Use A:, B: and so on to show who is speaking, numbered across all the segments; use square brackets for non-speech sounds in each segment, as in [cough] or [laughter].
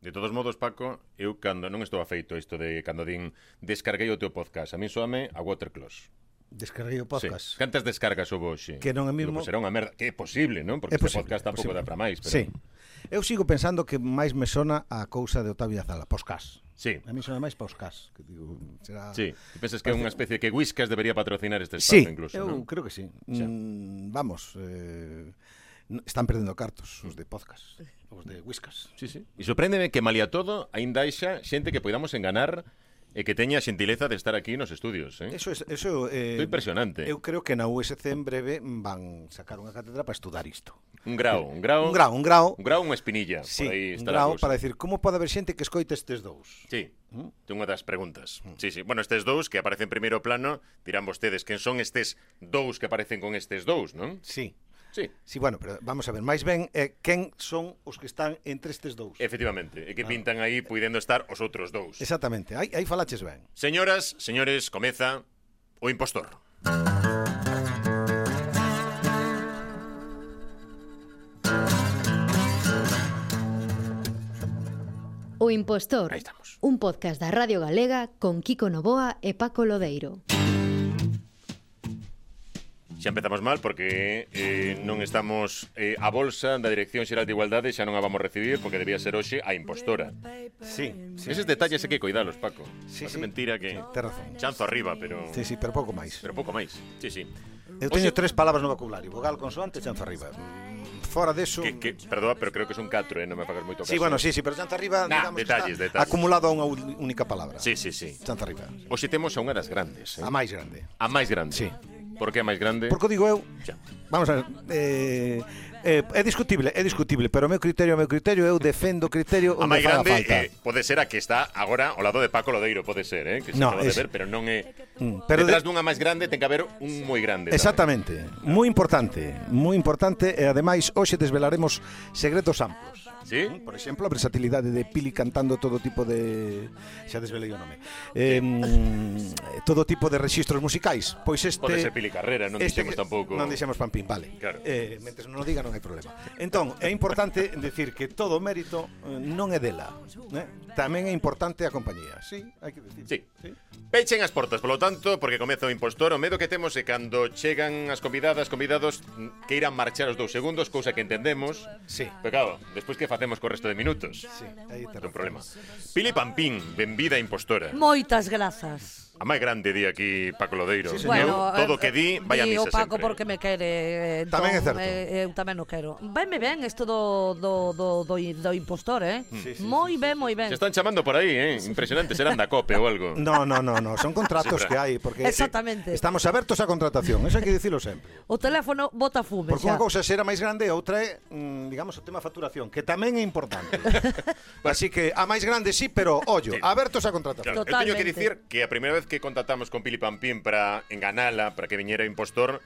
A: De todos modos, Paco, eu cando non estou afeito isto de cando din descarguei o teu podcast. A mí soame a Waterclass.
B: Descarguei o
A: Sí.
B: podcast.
A: Cantas descargas houve hoxe?
B: Que non é
A: Digo,
B: mismo-
A: Pois era unha merda. Que é posible, non? Porque
B: É
A: este
B: posible,
A: podcast
B: é
A: tampouco dá
B: posible.
A: para máis. Pero...
B: Sí. Eu sigo pensando que máis me sona a cousa de Otavio Azala, podcast.
A: Sí.
B: A mí sona máis podcast, que digo, será
A: Sí. Ti pensas que é unha especie que Whiskas debería patrocinar este espazo
B: Sí,
A: incluso,
B: eu
A: non?
B: creo que sí.
A: Xa.
B: Mm, vamos, eh, n- están perdendo cartos os de podcast, os de Whiskas.
A: Sí, sí. E sorpréndeme que, malia todo, aínda haixa xente que poidamos enganar e que teña a xentileza de estar aquí nos estudios, eh?
B: Eso es, eso eh,
A: Esto é impresionante.
B: Eu creo que na USC en breve van sacar unha cátedra para estudar isto.
A: Un grau, un grau...
B: Un grau, un grau.
A: Un grau, unha espinilla.
B: Sí,
A: por aí
B: un
A: está
B: grau
A: la cousa.
B: para decir como pode haber xente que escoite estes dous.
A: Sí,
B: Mm.
A: ten unha das preguntas. Sí, sí. Bueno, estes dous que aparecen en primeiro plano, dirán vostedes quen son estes dous que aparecen con estes dous, non?
B: Sí.
A: Sí.
B: Sí, bueno, pero vamos a ver, máis ben eh, quen son os que están entre estes dous.
A: Eh. Efectivamente, e que
B: Ah.
A: pintan aí puidendo estar os outros dous.
B: Exactamente, aí, aí falaches ben.
A: Señoras, señores, comeza o impostor.
C: O Impostor.
A: Aí estamos.
C: Un podcast da Radio Galega con Kiko Novoa e Paco Lodeiro.
A: Xa empezamos mal porque eh, non estamos eh, a bolsa da Dirección Xeral de Igualdade xa non a vamos recibir porque debía ser hoxe a impostora.
B: Sí, sí,
A: Eses detalles hai que coidalos, Paco.
B: Sí,
A: Parece
B: sí.
A: mentira que...
B: Ten razón.
A: Chanzo arriba, pero...
B: Sí, sí, pero pouco máis.
A: Pero pouco máis. Sí, sí.
B: Eu teño tres palabras no vocabulario, vogal, consoante, chanza arriba. Mm, Fora deso...
A: Que, que, perdoa, pero creo que son 4, eh? non me fagas moito caso.
B: Sí, bueno, sí, sí, pero chanza arriba,
A: Nah,
B: digamos,
A: detalles,
B: que
A: detalles.
B: está acumulado a unha ú- única palabra.
A: Sí, sí, sí.
B: Chanza arriba.
A: Hoxe temos a unha das grandes. Eh?
B: A máis grande.
A: A máis grande.
B: Sí.
A: Por que a máis grande?
B: Porque o digo eu,
A: Xa.
B: Vamos a ver, eh, eh, é discutible, é discutible, pero o meu criterio, o meu criterio, eu defendo o criterio
A: A
B: onde
A: máis
B: faga
A: grande
B: falta.
A: eh, pode ser a que está agora ao lado de Paco Lodeiro, pode ser, eh? que se
B: No,
A: acaba de
B: es-
A: ver, pero non é...
B: Mm, pero
A: Detrás
B: de-
A: dunha máis grande ten que haber un moi grande. tamén.
B: Exactamente, moi importante, moi importante e ademais hoxe desvelaremos segredos amplos.
A: Sí?
B: Por exemplo, a versatilidade de Pili cantando todo tipo de xa desvelei o nome. Eh, mm, todo tipo de rexistros musicais. Pois este
A: Pode ser Pili Carrera, non
B: este
A: dixemos
B: que-
A: tampouco.
B: Non dixemos Pampín, vale.
A: Claro.
B: Eh, mentres non o diga non hai problema. Entón, é importante [laughs] decir que todo o mérito eh, non é dela, né? Tamén é importante a compañía. Sí, hai que decir.
A: Sí. Pechen as portas, polo tanto, porque comeza o impostor, o medo que temos é cando chegan as convidadas, convidados, mm, que irán marchar os dous segundos, cousa que entendemos.
B: Sí.
A: Pero claro, despois que facemos co resto de minutos?
B: Sí, aí te
A: É un problema. Pili Pampín, benvida impostora.
D: Moitas grazas. eh,
A: A máis grande di aquí Paco Lodeiro.
B: Sí, señor.
A: Eu, todo o que di, vai a
D: di
A: misa
D: o Paco
A: sempre.
D: porque me quere. eh, Entón,
B: Tamén é certo.
D: Eh, eu tamén o quero. Venme ben isto do, do, do, do, do impostor, eh?
A: Mm.
D: Sí, sí, moi ben, moi ben.
A: Se están chamando por aí, eh? Impresionante, serán da COPE ou algo.
B: No, no, no, no, son contratos
A: Sí,
B: que hai porque eh,
D: Exactamente.
B: estamos abertos á contratación, eso hai que dicilo sempre.
D: O teléfono bota fume
B: Porque unha
D: xa.
B: cousa será máis grande e outra é, mm, digamos, o tema facturación, que tamén é importante.
D: [laughs]
B: Así que a máis grande sí, pero ollo,
A: Sí.
B: abertos á contratación.
A: Claro, eu teño que dicir
D: Totalmente.
A: que a primeira vez que contactamos con Pili Pampín para enganala, para que viñera o impostor,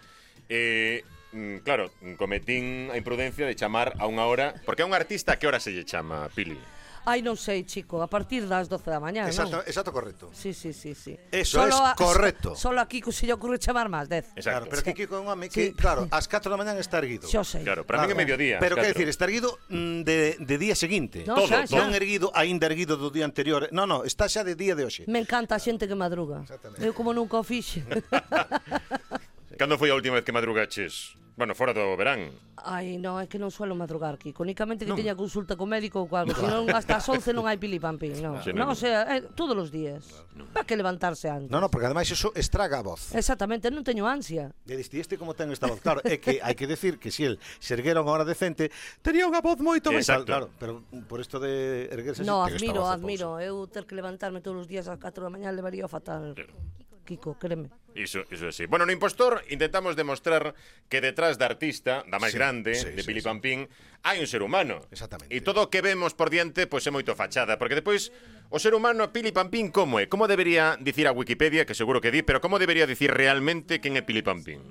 A: eh, mm, claro, mm, cometín a imprudencia de chamar a unha hora, porque a un artista a que hora se lle chama, Pili?
D: Ai, non sei, chico, a partir das 12 da mañá,
B: Exacto,
D: non?
B: exacto correcto.
D: Sí, sí, sí, sí.
B: Eso es correcto.
D: Solo aquí se lle ocurre chamar máis 10.
A: Exacto.
B: Claro, pero que Kiko é un home que,
D: Sí.
B: claro, ás 4 da mañá está erguido.
D: Xa o sei.
A: Claro, para mí que
B: Claro.
A: mediodía.
B: Pero
A: claro.
B: quero decir, está erguido mm, de, de día seguinte.
D: No,
A: Todo,
D: xa,
A: todo.
D: xa.
B: Non erguido, aínda erguido do día anterior. No, no, está xa de día de hoxe.
D: Me encanta a xente que madruga.
B: Exactamente.
D: Eu como nunca o fixe.
B: [laughs]
A: Cando foi a última vez que madrugaches? Bueno, fora do verán.
D: Ai, non, é que non suelo madrugar, Kiko. Únicamente que non. teña consulta co médico ou co algo. Se non, hasta as 11 non hai
B: [laughs]
D: pilipampín, non.
A: Sí,
D: non,
A: non.
D: o sea, é, todos os días. Non. Para que levantarse antes.
B: No, no, porque ademais eso estraga a voz.
D: Exactamente, non teño ansia.
B: E diste, este como ten esta voz? Claro, é que hai que decir que se si el se erguera unha hora decente, tería unha voz moito máis
A: Exacto.
B: alta. Claro, pero por isto de erguerse
D: No,
B: sí, ten esta
D: admiro,
B: voz de
D: admiro. Eu ter que levantarme todos os días ás 4 da mañá levaría fatal. Kiko, créeme.
A: Iso, iso é así. Bueno, no Impostor intentamos demostrar que detrás da artista, da máis
B: Sí,
A: grande,
B: sí,
A: de
B: sí,
A: Pili
B: sí.
A: Pampín, hai un ser humano.
B: Exactamente.
A: E todo o que vemos por diante pois é moito fachada, porque depois o ser humano Pili Pampín como é? Como debería dicir a Wikipedia, que seguro que di, pero como debería dicir realmente quen é Pili Pampín?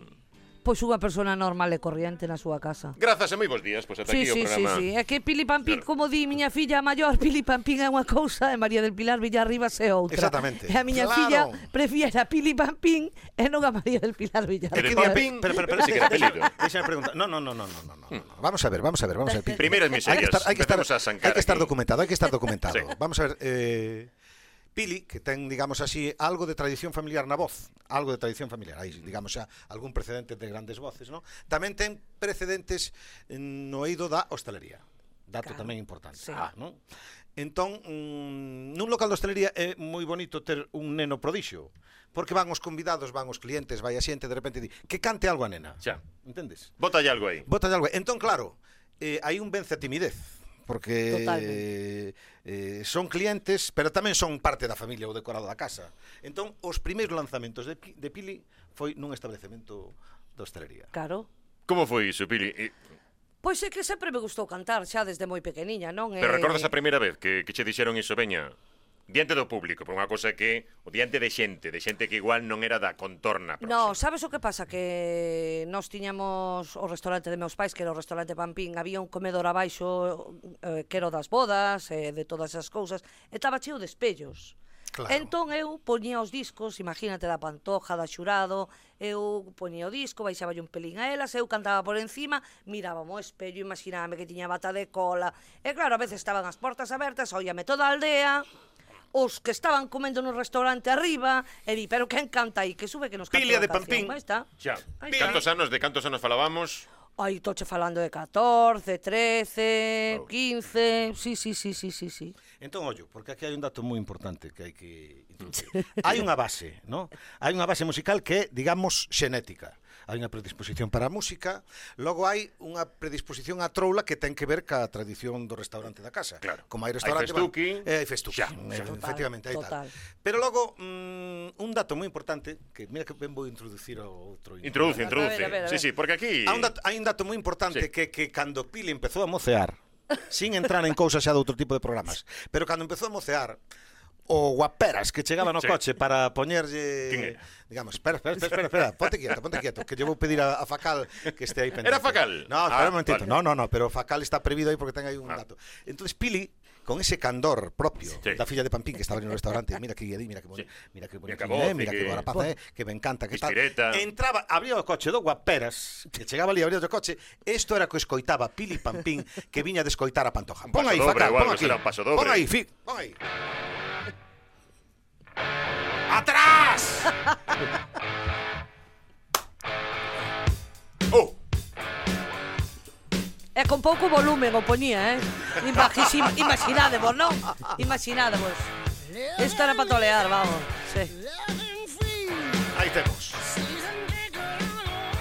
D: Pois unha persona normal e corriente na súa casa.
A: Grazas e moi bons días, pois ata
D: Sí,
A: aquí o
D: sí, sí,
A: programa.
D: sí. É que Pili Pampín,
A: Claro.
D: como di miña filla [laughs] maior, Pili Pampín é unha cousa e María del Pilar Villarribas é outra.
B: Exactamente.
D: E a miña
B: Claro.
D: filla prefiere a Pili Pampín e non a María del Pilar Villarribas.
A: Que de
B: Pero,
A: Pampín,
B: pero, pero, pero,
A: sí que era
B: déjame- [laughs]
A: apellido.
B: déjame preguntar. No, no, no, no, no, no, no, no. Vamos a ver, vamos a ver, vamos a ver. Pipi.
A: Primeras
B: Hay que
A: miserias.
B: estar, hay que estar,
A: Empezamos a zancar
B: hay que estar
A: aquí.
B: documentado, hay que estar
A: [laughs]
B: documentado.
A: Sí.
B: Vamos a ver. eh, Pili, que ten, digamos así, algo de tradición familiar na voz, algo de tradición familiar, hai, digamos, xa algún precedente de grandes voces, ¿no? Tamén ten precedentes no eido da hostalería. Dato
D: Claro,
B: tamén importante.
D: sí.
B: Ah, non? Entón, mm, nun local de hostelería é moi bonito ter un neno prodixio, porque van os convidados, van os clientes, vai a xente de repente e di, que cante algo a nena.
A: Xa.
B: Entendes?
A: Bótalle algo aí.
B: Bota de algo. Entón, claro, eh, hai un vence a timidez. Porque
D: Totalmente.
B: eh, son clientes, pero tamén son parte da familia ou decorado da casa. Entón, os primeiros lanzamentos de, Pi- de Pili foi nun establecemento de hostelería.
D: Claro.
A: Como foi iso, Pili? E,
D: Pois é que sempre me gustou cantar xa desde moi pequeniña, non?
A: pero
D: Eh,
A: recordas a primeira vez que, que che dixeron iso, veña? Diante do público, por unha cosa que... O diante de xente, de xente que igual non era da contorna.
D: No,
A: próxima.
D: sabes o que pasa? Que nós tiñamos o restaurante de meus pais, que era o restaurante Pampín, había un comedor abaixo, eh, que era o das bodas, eh, de todas esas cousas, e estaba cheo de espellos.
B: Claro.
D: Entón eu poñía os discos, imagínate da Pantoja, da Xurado, eu poñía o disco, baixaba un pelín a elas, eu cantaba por encima, mirábame o espello, imaginábame que tiña bata de cola. E claro, a veces estaban as portas abertas, oíame toda a aldea, os que estaban comendo no restaurante arriba, e di, pero quen canta aí? Que sube que nos canta
A: Pilia
D: unha
A: de
D: canción".
A: Pampín.
D: Aí está.
A: Xa.
D: Aí está.
A: Cantos anos, de cantos anos falábamos?
D: Aí toche falando de 14, 13,
B: Oh.
A: Wow.
D: 15... Sí, sí, sí, sí, sí, sí.
B: Entón, ollo, porque aquí hai un dato moi importante que hai que introducir. hai unha base, ¿no? Hai unha base musical que é, digamos, xenética. Hai unha predisposición para a música, logo hai unha predisposición a troula que ten que ver ca tradición do restaurante da casa.
A: Claro.
B: Como hai
A: Hai
B: restaurante...
A: festuqui.
B: van- Eh, hai festuqui.
A: Xa, xa.
B: Eh, Efectivamente, hai tal.
D: Total,
B: Pero logo, mm, un dato moi importante, que mira que ben vou introducir ao outro...
A: Introduce, introduce.
B: integrante.
D: ver, a ver, a
A: Sí,
D: ver.
A: sí, porque aquí...
B: Hai un dato, hai un dato moi
A: Sí.
B: importante sí. que que cando Pili empezou a mocear, sin entrar en cousas xa de outro tipo de programas, pero cando empezou a mocear, o guaperas que chegaba no
A: Sí.
B: sí. coche para
A: Quen
B: poñerlle
A: era?
B: digamos, espera, espera, espera, espera, espera, ponte quieto, ponte quieto, que lle vou pedir a, a Facal que este aí pendente.
A: Era Facal?
B: No, espera
A: Ah,
B: un momentito.
A: vale.
B: No, no, no, pero Facal está prevido aí porque ten aí un
A: Ah.
B: dato. Entonces Pili con ese candor propio
A: Sí.
B: da filla de Pampín que estaba en el restaurante, mira que guiadí, mira que boni,
A: Sí.
B: mira que
A: Mira
B: bonito,
A: que
B: mira
A: voz e
B: que, mira que,
A: que-
B: guarapaz, eh, que me encanta, que
A: Pispireta.
B: tal. Entraba, abría o coche do Guaperas, que chegaba ali, abría o coche, isto era o que escoitaba Pili Pampín que viña de escoitar a Pantoja. Pon aí,
A: pasodobre
B: Facal,
A: ou algo,
B: pon aquí.
A: será un pasodobre.
B: Pon aí, fi, pon aí.
A: ¡Atrás! ¡Oh!
D: E con pouco volumen o poñía, eh? Imagis, imaginádevos, non? Imaginádevos. Isto era para tolear, vamos. Sí.
B: Aí temos.
A: Ah,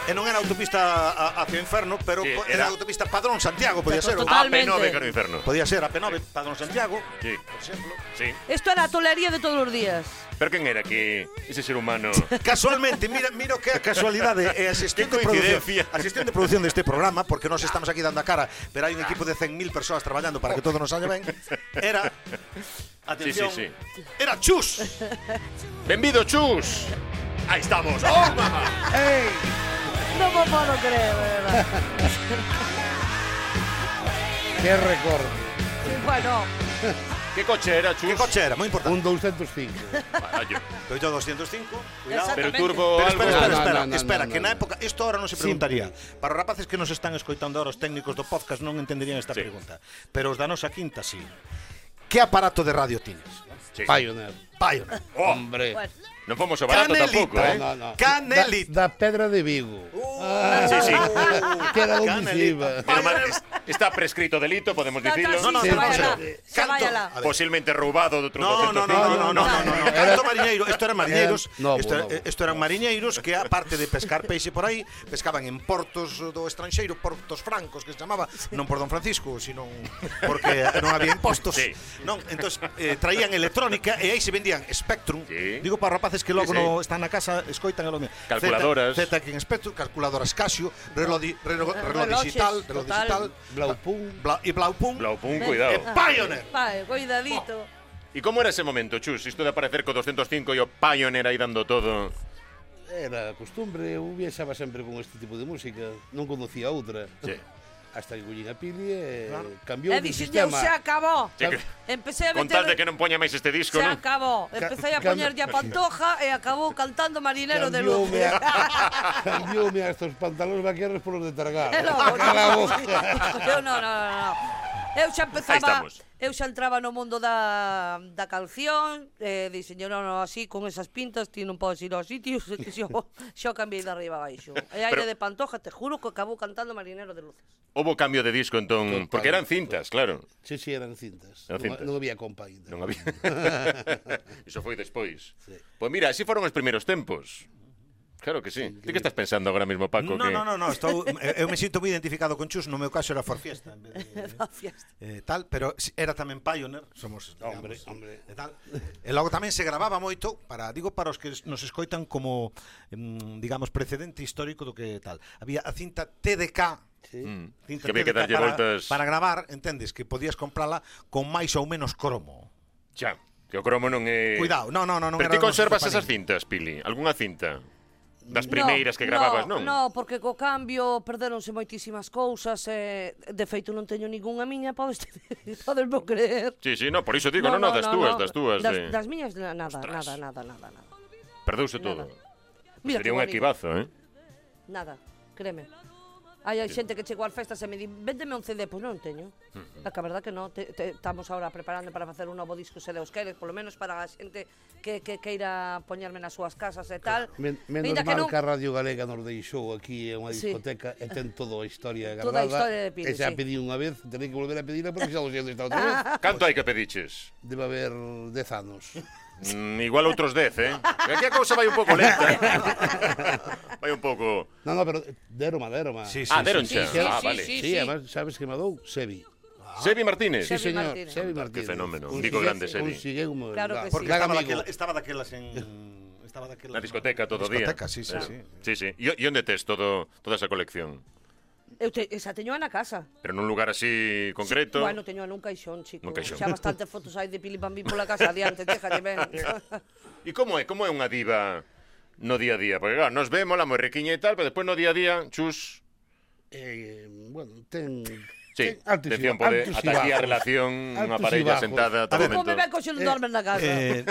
B: E non era autopista a- hacia o inferno, pero
A: Sí,
B: co-
A: era-
B: era, autopista Padrón Santiago, podía ser. ou-
D: Total. Totalmente.
A: AP9 que no inferno.
B: Podía ser a P9, Padrón Santiago,
A: Sí,
B: por exemplo.
A: sí.
D: Isto era a tolería de todos os días.
A: Pero quen era que ese ser humano?
B: Casualmente, mira, miro que a casualidade é asistente
A: Que
B: de produción,
A: coincidencia.
B: asistente de produción deste programa, porque nós estamos aquí dando a cara, pero hai un equipo de 100.000 persoas traballando para que todo nos saia ben. Era Atención.
A: Sí, sí,
B: Era Chus. [laughs]
A: ¡Benvido, chus! Ahí estamos. ¡Oh, mamá!
D: Non me podo creer, de
B: [laughs]
D: verdad.
E: Que recordo.
D: Bueno,
A: ¿Qué coche era, chus?
B: Que coche era? Moi importante.
E: Un 205.
A: Barallo.
B: Peugeot 205. Cuidado.
A: Pero
D: Exactamente.
A: turbo algo.
B: Pero espera, espera,
E: No,
B: espera,
E: no, no,
B: espera
E: no,
B: que
E: no,
B: na
E: no.
B: época isto ahora non se preguntaría. Para os rapaces que nos están escoitando ahora os técnicos do podcast non entenderían esta
A: Sí.
B: pregunta, pero os da nosa quinta sí. Que aparato de radio tiñes?
A: Sí.
E: Pioneer.
B: Pioneer.
A: Oh,
E: Hombre.
D: bueno.
A: non fomos o barato
B: Canelita.
A: tampouco, eh?
E: No, no, no.
B: Canelita. Uh.
E: Da, da Pedra de Vigo. Ah,
A: Sí,
B: [laughs]
A: sí.
B: Oh.
E: Que era
B: Canelita.
E: domiciliva.
A: Menos mal, es- está prescrito delito, podemos
D: Está,
A: dicirlo.
D: está,
B: No, no,
D: sí,
B: pero
D: se
B: vamos
D: vai
B: a
D: alá,
B: ver.
D: se vai
B: Canto.
D: alá.
B: A ver.
A: Posiblemente roubado de outro
B: No, no,
A: 205.
B: no, no, no, no, no, no.
E: Era-
B: Canto mariñeiro, isto eran mariñeiros,
E: Era novo,
B: isto,
E: novo.
B: isto eran mariñeiros que aparte de pescar peixe por aí, pescaban en portos do estranxeiro, portos francos que se chamaba, non por Don Francisco, sino porque non había impostos.
A: Sí.
B: Non, entón eh, traían electrónica e aí se vendían Spectrum.
A: Sí.
B: Digo para rapaces que
A: Sí,
B: logo
A: sí.
B: no están na casa, escoitan a lo mío.
A: Calculadoras.
B: Z, Z que en Spectrum, calculadoras Casio, reloj, di- reloj, reloj
D: Reloxes,
B: digital, reloj
D: total.
B: digital,
E: Blaupun.
B: bla, e Blaupun,
A: Blaupun,
B: e
A: cuidado.
B: Pioneer.
D: Vai, cuidadito.
A: E como era ese momento, Chus? Isto de aparecer co 205 e o Pioneer aí dando todo.
E: Era costumbre, eu viaxaba sempre con este tipo de música, non conocía outra.
A: Sí.
E: Hasta que collín a pili e
B: Claro.
E: cambiou
D: E
E: de
D: dixen,
E: sistema.
D: se acabó.
A: Sí, que-
D: Empecé a
A: Con tal
D: meter...
A: de que non poña máis este disco,
D: Se
A: non?
D: acabó.
E: Ca-
D: Empecé a
E: cambio-
D: poñerlle a pantoja e acabou cantando marinero de luz.
E: Cambioume
B: [laughs]
D: [laughs]
E: a, cambioume a estos pantalóns vaqueros polos de targar.
D: E logo,
E: Cala a boca.
D: Eu non, non, non, non. Eu xa empezaba,
A: Aí estamos.
D: eu xa entraba no mundo da, da canción, eh, dixen, "Yo non, non, así, con esas pintas, ti non podes ir aos [laughs] sitios, que xo, xo cambiei de arriba a baixo. E
A: Pero-
D: aire de pantoja, te juro que acabou cantando Marinero de Luces. [laughs]
A: Houbo cambio de disco entón,
E: Total.
A: porque eran cintas, claro.
E: Sí, sí, eran cintas.
A: Eran cintas.
E: Non, non había compa ainda.
A: Non
B: [laughs]
A: había. Iso foi despois.
E: Sí.
A: Pois mira, así foron os primeiros tempos. Claro que sí. Ti que estás pensando agora mesmo, Paco?
B: No,
A: que...
B: no, no, no, estou, eu me sinto moi identificado con Chus, no meu caso era for fiesta, en vez de,
D: Da fiesta.
B: eh, tal, pero si- era tamén Pioneer, somos digamos,
E: Hombre, hombre.
B: E, tal. e logo tamén se gravaba moito para digo para os que nos escoitan como mm, digamos precedente histórico do que tal. Había a cinta TDK
E: Sí.
A: Mm. Que
B: Cinta
A: había que
B: TDK
A: darlle
B: para,
A: voltas...
B: para gravar, entendes, que podías comprala con máis ou menos cromo.
A: Xa, que o cromo non é...
B: Cuidado, no, no, no, non
A: Eh, Pero ti
B: era o noso
A: conservas
B: compañero.
A: esas cintas, Pili? Algúna cinta? Das primeiras que gravabas, non?
D: No, porque co cambio perdéronse moitísimas cousas e de feito non teño ningunha miña, podes [laughs] podes creer.
A: Sí, sí, no, por iso digo, non, no, das túas, das túas.
D: Das,
A: de-
D: das miñas na- nada,
A: Ostras.
D: nada, nada, nada, nada.
A: Perdeuse
D: nada.
A: todo.
D: Mira
A: Sería
D: que
A: un
D: bonito.
A: equibazo, eh?
D: Nada, créeme. Hai sí. xente que chegou ás festas e me di Véndeme un CD, pois non teño
A: Mm-hmm.
D: uh -huh. Que a verdad que non, te, te, estamos agora preparando para facer un novo disco se Deus quere Polo menos para a xente que, que queira poñerme nas súas casas e tal
E: Men, menos
D: Aínda que
E: mal
D: non-
E: que a Radio Galega nos deixou aquí en unha
D: Sí.
E: discoteca e ten toda a historia
D: Toda a
E: gravada.
D: historia de Pili,
E: e xa
D: sí.
E: pedí unha vez, tenéis que volver a pedila porque xa lo siento
D: [laughs]
E: esta outra vez.
A: Canto hai que pediches?
E: Debe haber 10 anos.
A: Mm, igual outros 10, [laughs] eh? Que Aquí a cousa vai un pouco [laughs] lenta. vai un pouco...
E: Non, non, pero deroma, deroma.
B: Sí, sí,
A: Ah, deron
D: sí,
A: xa.
D: sí,
A: ah,
D: sí,
A: vale.
D: sí.
E: Sí, además, sabes que me dou? Sebi.
A: Sebi Martínez.
D: Sebi
E: Sí, señor,
D: Martínez.
E: Sebi
A: Qué
E: Martínez.
A: fenómeno. Un
E: Consigue-
A: bico grande, Sebi.
E: Consigue un...
D: Claro que
B: Porque
D: sí.
B: estaba,
E: amigo.
B: daquela, estaba daquelas en estaba daquelas
A: Na discoteca todo o día.
B: Discoteca, sí, sí,
A: Eh,
B: sí.
A: Sí, sí. E e onde tes todo, toda esa colección?
D: Eu te, esa teño na casa
A: Pero nun lugar así concreto?
D: Bueno, teño nun caixón, chico
A: Nun caixón.
D: Xa bastantes fotos hai de Pili Bambín pola casa adiante, déjate
A: [laughs]
D: ben [laughs]
A: E como é? Como é unha diva no día a día? Porque claro, nos vemos la morriquiña e tal, pero despois no día a día, chus...
E: Eh, bueno, ten...
A: Sí,
E: ten Eh, altos
A: de
E: y-
A: tiempo de
E: altos y
A: ata aquí a
E: bajos.
A: relación, unha
E: Altos y
A: parella
E: bajos.
A: sentada, todo
D: Como me
A: momento.
D: ven coxendo dormen na casa
B: Eh,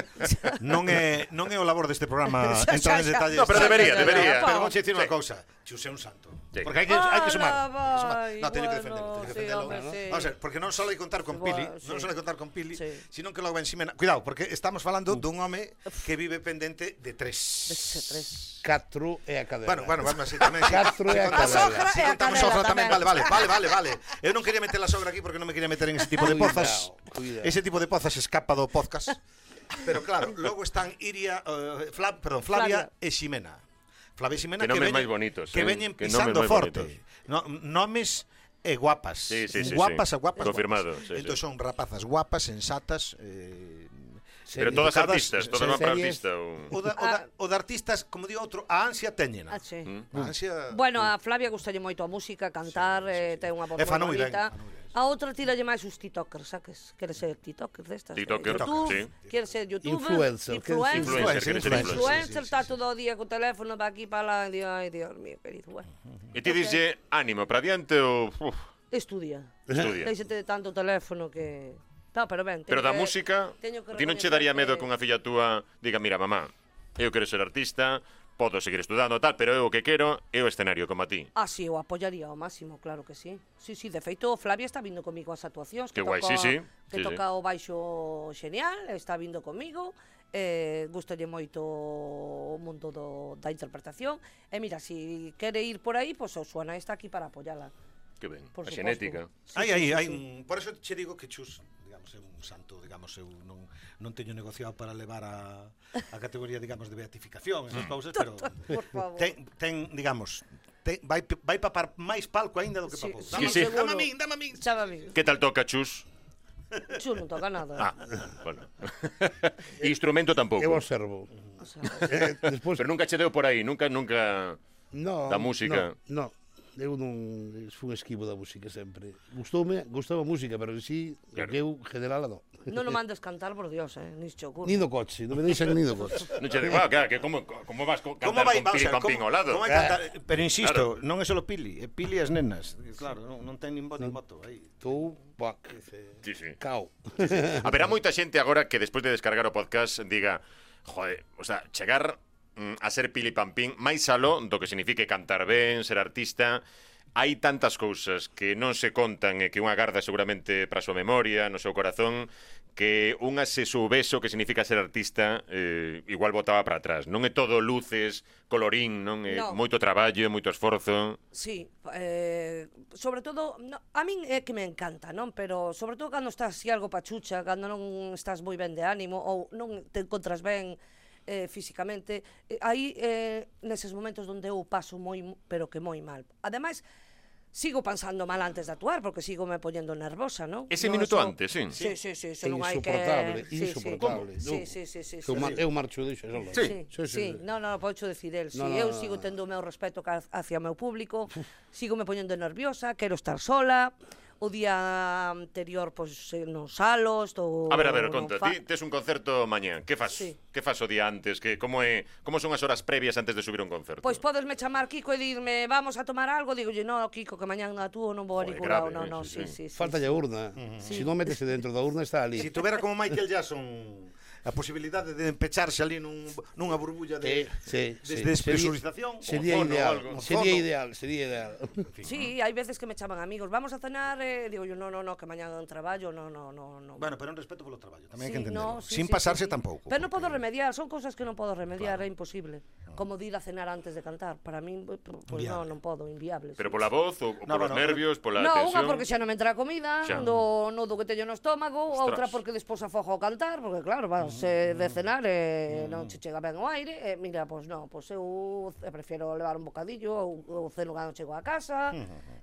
B: non é non é o labor deste programa
D: [laughs] Xa,
B: entrar en
D: xa, xa.
B: detalles.
A: No, pero
B: Xa,
A: debería,
B: xa, xa.
A: debería.
B: Pero vou dicir unha
A: Sí.
B: cousa, Chus é un santo.
A: Sí.
B: Porque hai que hai que sumar.
D: Ala,
B: hai que sumar.
D: vai,
B: No, teño que defendelo,
D: bueno,
B: teño que
D: sí,
B: defendelo.
D: hombre, sí.
B: Vamos a ver, porque non só hai contar con
D: Bueno,
B: Pili,
D: sí.
B: non só hai contar con Pili,
D: Sí. Uh.
B: sino que logo ven Ximena. Cuidado, porque estamos falando dun home que vive pendente de tres.
D: Tres.
E: Catro e a cadena.
B: Bueno, bueno, vamos así tamén. sí.
E: Catro e a
B: contamos-
E: cadela. A sogra
B: sí,
D: e a
B: contamos
D: cadela
B: sogra tamén. Vale,
D: tamén.
B: vale, vale, vale, vale. Eu non quería meter a sogra aquí porque non me quería meter en ese tipo de
E: Cuidao,
B: pozas.
E: cuidao.
B: Ese tipo de pozas escapa do podcast. Pero claro, logo están Iria, eh, Fla- perdón, Flavia,
D: Flavia.
B: e Ximena. Flavia e
A: Que
B: Ximena
A: nomes
B: veñen-
A: máis bonitos,
B: Que
A: eh,
B: veñen
A: que nomes
B: pisando
A: máis
B: forte.
A: bonitos.
B: No, nomes e guapas.
A: Sí, sí, sí,
B: guapas
A: sí.
B: e guapas.
A: Confirmado,
B: guapas.
A: sí, sí.
B: Entón son rapazas guapas, sensatas, eh,
A: Pero todas
B: educadas,
A: artistas, todas
E: se-
A: van para
E: series.
A: artista. ou-
B: O da, o, da, o de artistas, como di outro, a ansia
A: Mm.
B: teñena.
D: Ah, sí.
B: A ansia...
D: Bueno, a Flavia gustalle moito a música, cantar, eh, ten unha voz
B: E
D: moi
B: fan moi ben,
D: bonita.
B: fan moi ben,
D: A outra tiralle máis os tiktokers, saques? Queres ser tiktoker destas? eh,
A: Tiktoker,
D: YouTube,
A: sí.
D: Queres ser youtuber?
E: Influencer, queres ser
D: Influencer.
A: Influencer, quere ser
B: Influencer,
A: influencer.
D: Influencer está todo o día co teléfono para aquí, para lá, e di, ai, Dios mío, querido, bueno.
A: E ti dixlle ánimo para diante ou uf,
D: Estudia.
A: estudia.
D: Deixate de tanto teléfono que... Tá, pero ben.
A: Pero
D: teño
A: da
D: que-
A: música,
D: teño que
A: ti non che
D: recoñecer
A: daría medo
D: que-
A: que unha filla túa diga, mira, mamá, eu quero ser artista, podo seguir estudando tal, pero eu o que quero é o escenario como a ti.
D: Ah, sí, o apoyaría ao máximo, claro que sí. Sí, sí, de feito, Flavia está vindo comigo ás actuacións.
A: Que guai,
D: toca-
A: sí, sí,
D: Que
A: sí, sí.
D: toca o baixo xenial, está vindo comigo. Eh, gustalle moito o mundo do, da interpretación. E mira, se si quere ir por aí, pois pues, o Suana está aquí para apoyala.
A: Que ben,
D: Por
A: a
D: suposto.
A: xenética.
D: Sí,
B: Hai,
D: sí,
B: hai,
D: sí,
B: hai
D: sí.
B: un... Por eso che digo que Chus, digamos, é un santo, digamos, eu non, non teño negociado para levar a, a categoría, digamos, de beatificación,
A: Mm.
B: esas cousas, pero...
D: [laughs] Por favor.
B: Ten, ten digamos, ten, vai, vai papar máis palco aínda do que
D: Sí,
B: papou.
D: sí,
B: Dame,
A: sí.
B: dame a min, dame a min.
D: Chava a mí.
A: Que tal toca, Chus?
D: Chu non toca nada.
A: Ah,
E: [laughs]
A: bueno. Instrumento tampouco.
E: Eu observo.
D: O sea,
E: Eh, despois,
A: Pero nunca che deu por aí, nunca, nunca...
E: no,
A: da música.
E: No, no. Eu non fui un esquivo da música sempre. Gustoume, gustaba a música, pero en sí,
A: Claro.
E: claro. que eu general non.
D: Non o mandes cantar, por Dios, eh, nicho curro.
E: Ni do coche, non me deixan ni do
A: [laughs]
E: coche.
A: Non che digo, ah, claro, que como, como vas co-
B: Como
A: cantar
B: vai,
A: con
B: o
A: Pili
B: sea,
A: Pampín
B: como,
A: ao lado? Eh.
B: como vai cantar? Pero insisto, non é solo Pili, é Pili e as nenas. Claro, non, non ten nin voz
A: Mm.
B: nin voto aí.
E: Tú, bac,
A: Sí, sí.
E: cao.
A: Haberá moita xente agora que despois de descargar o podcast diga, joder, o sea, chegar mm, a ser Pili Pampín máis aló do que signifique cantar ben, ser artista, hai tantas cousas que non se contan e que unha garda seguramente para a súa memoria, no seu corazón, que unha se soubeso que significa ser artista eh, igual botaba para atrás. Non é todo luces, colorín, non é
D: Non.
A: moito traballo, moito esforzo.
D: Sí, eh, sobre todo, no, a min é que me encanta, non? Pero sobre todo cando estás así algo pachucha, cando non estás moi ben de ánimo ou non te encontras ben eh, físicamente, eh, aí eh, neses momentos onde eu paso moi, pero que moi mal. Ademais, sigo pensando mal antes de actuar porque sigo me poñendo nervosa, non?
A: Ese
D: Non,
A: minuto
D: eso-
A: antes, sí.
D: Sí, sí, sí,
E: É
D: eso non hai que...
E: insoportable,
D: Sí, sí.
E: insoportable.
D: Sí, sí, sí, sí, sí.
E: Eu, mar, eu marcho deixo sola.
D: Sí, sí, sí. No, no, pocho decir el. Sí,
E: No, no,
D: eu
E: no,
D: sigo
E: no.
D: tendo o meu respeto ca- hacia o meu público, sigo me poñendo nerviosa, quero estar sola, o día anterior pois eh, non salo, estou
A: A ver, a ver,
D: non
A: conta,
D: fa-
A: ti tes un concerto mañá, que fas?
D: Sí.
A: Que fas o día antes? Que como é, como son as horas previas antes de subir un concerto?
D: Pois podesme chamar Kiko e dirme, vamos a tomar algo, digo, no, Kiko, que mañán actúo, non vou a
A: Joder,
D: ningún lado,
A: grave,
D: no,
A: eh,
D: no,
A: sí, sí.
D: sí, sí, sí.
E: Falta a urna. Se non métese dentro da urna está ali.
B: Se tuvera como Michael Jackson a posibilidade de empecharse ali nun, nunha burbulla de,
E: Eh, sí,
B: de,
E: sí.
B: de despresurización.
E: Sería
A: fono o
E: ideal,
A: algo.
E: sería
B: Fono.
E: ideal, sería ideal.
D: Sí, hai veces que me chaman amigos, vamos a cenar, eh, digo yo, no, no, no, que mañán traballo, no, no, no, no.
B: Bueno, pero un respeto polo traballo, tamén hai
D: Sí,
B: que entenderlo.
D: no, sí,
B: Sin
D: sí,
B: pasarse
D: sí, sí.
B: tampouco.
D: Pero non
B: porque-
D: podo remediar, son cousas que non podo remediar, é imposible. Como de ir a cenar antes de cantar, para pues, min p- p- pois non,
B: Inviable.
D: non podo, inviable.
A: Pero
D: sí.
A: pola voz ou, ou
B: No,
A: polos
B: bueno,
A: nervios, pola
D: No, unha
A: tensión?
D: porque xa non me entra a comida,
A: Xa.
D: do nodo que teño no estómago,
A: Ostras. Mm.
D: outra porque despois afojo ao cantar, porque claro, vas eh, de cenar e non che chega ben o aire, e mira, pois non, pois eu c- prefiero levar un bocadillo ou, ou ceno cando chego
A: Mm,
D: a casa.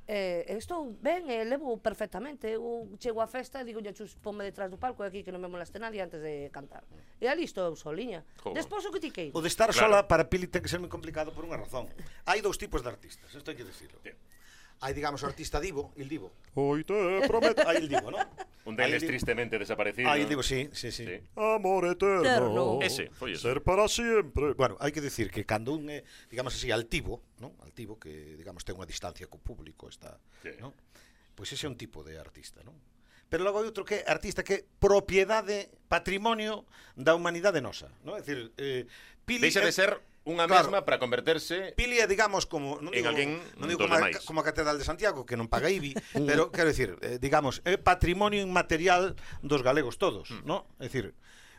D: Eh, estou ben, e levo perfectamente, eu chego á festa e digo, "Ya chus, ponme detrás do palco e aquí que non me moleste nadie antes de cantar." E ali estou eu soliña.
A: Joder.
D: Despois o que ti queira.
B: O de estar
A: Claro.
B: sola para Pili ten que ser moi complicado por unha razón. Hai dous tipos de artistas, isto hai que decirlo. Hai, digamos, o artista divo, il divo.
A: Oi
B: [laughs]
A: te
B: Prometo, hai il divo, non?
A: Un deles
B: Aí di-
A: tristemente desaparecido.
B: Aí digo, sí, sí, sí.
A: Sí.
B: Amor eterno.
D: Eterno.
A: Ese, foi ese.
B: Ser para sempre. Bueno, hai que dicir que cando un é, digamos así, altivo, non? Altivo que, digamos, ten unha distancia co público, está,
A: Sí.
B: non? Pois ese é un tipo de artista, non? Pero logo hai outro que é artista que é propiedade, patrimonio da humanidade nosa, non? É dicir, eh, Pili
A: Deixa de
B: é-
A: ser unha
B: Claro.
A: mesma para converterse
B: Pili é, digamos, como non
A: En
B: digo,
A: alguén
B: non digo
A: dos
B: como, a,
A: demais.
B: como a Catedral de Santiago que non paga IBI, pero quero dicir, eh, digamos, é patrimonio inmaterial dos galegos todos, mm. non? É dicir,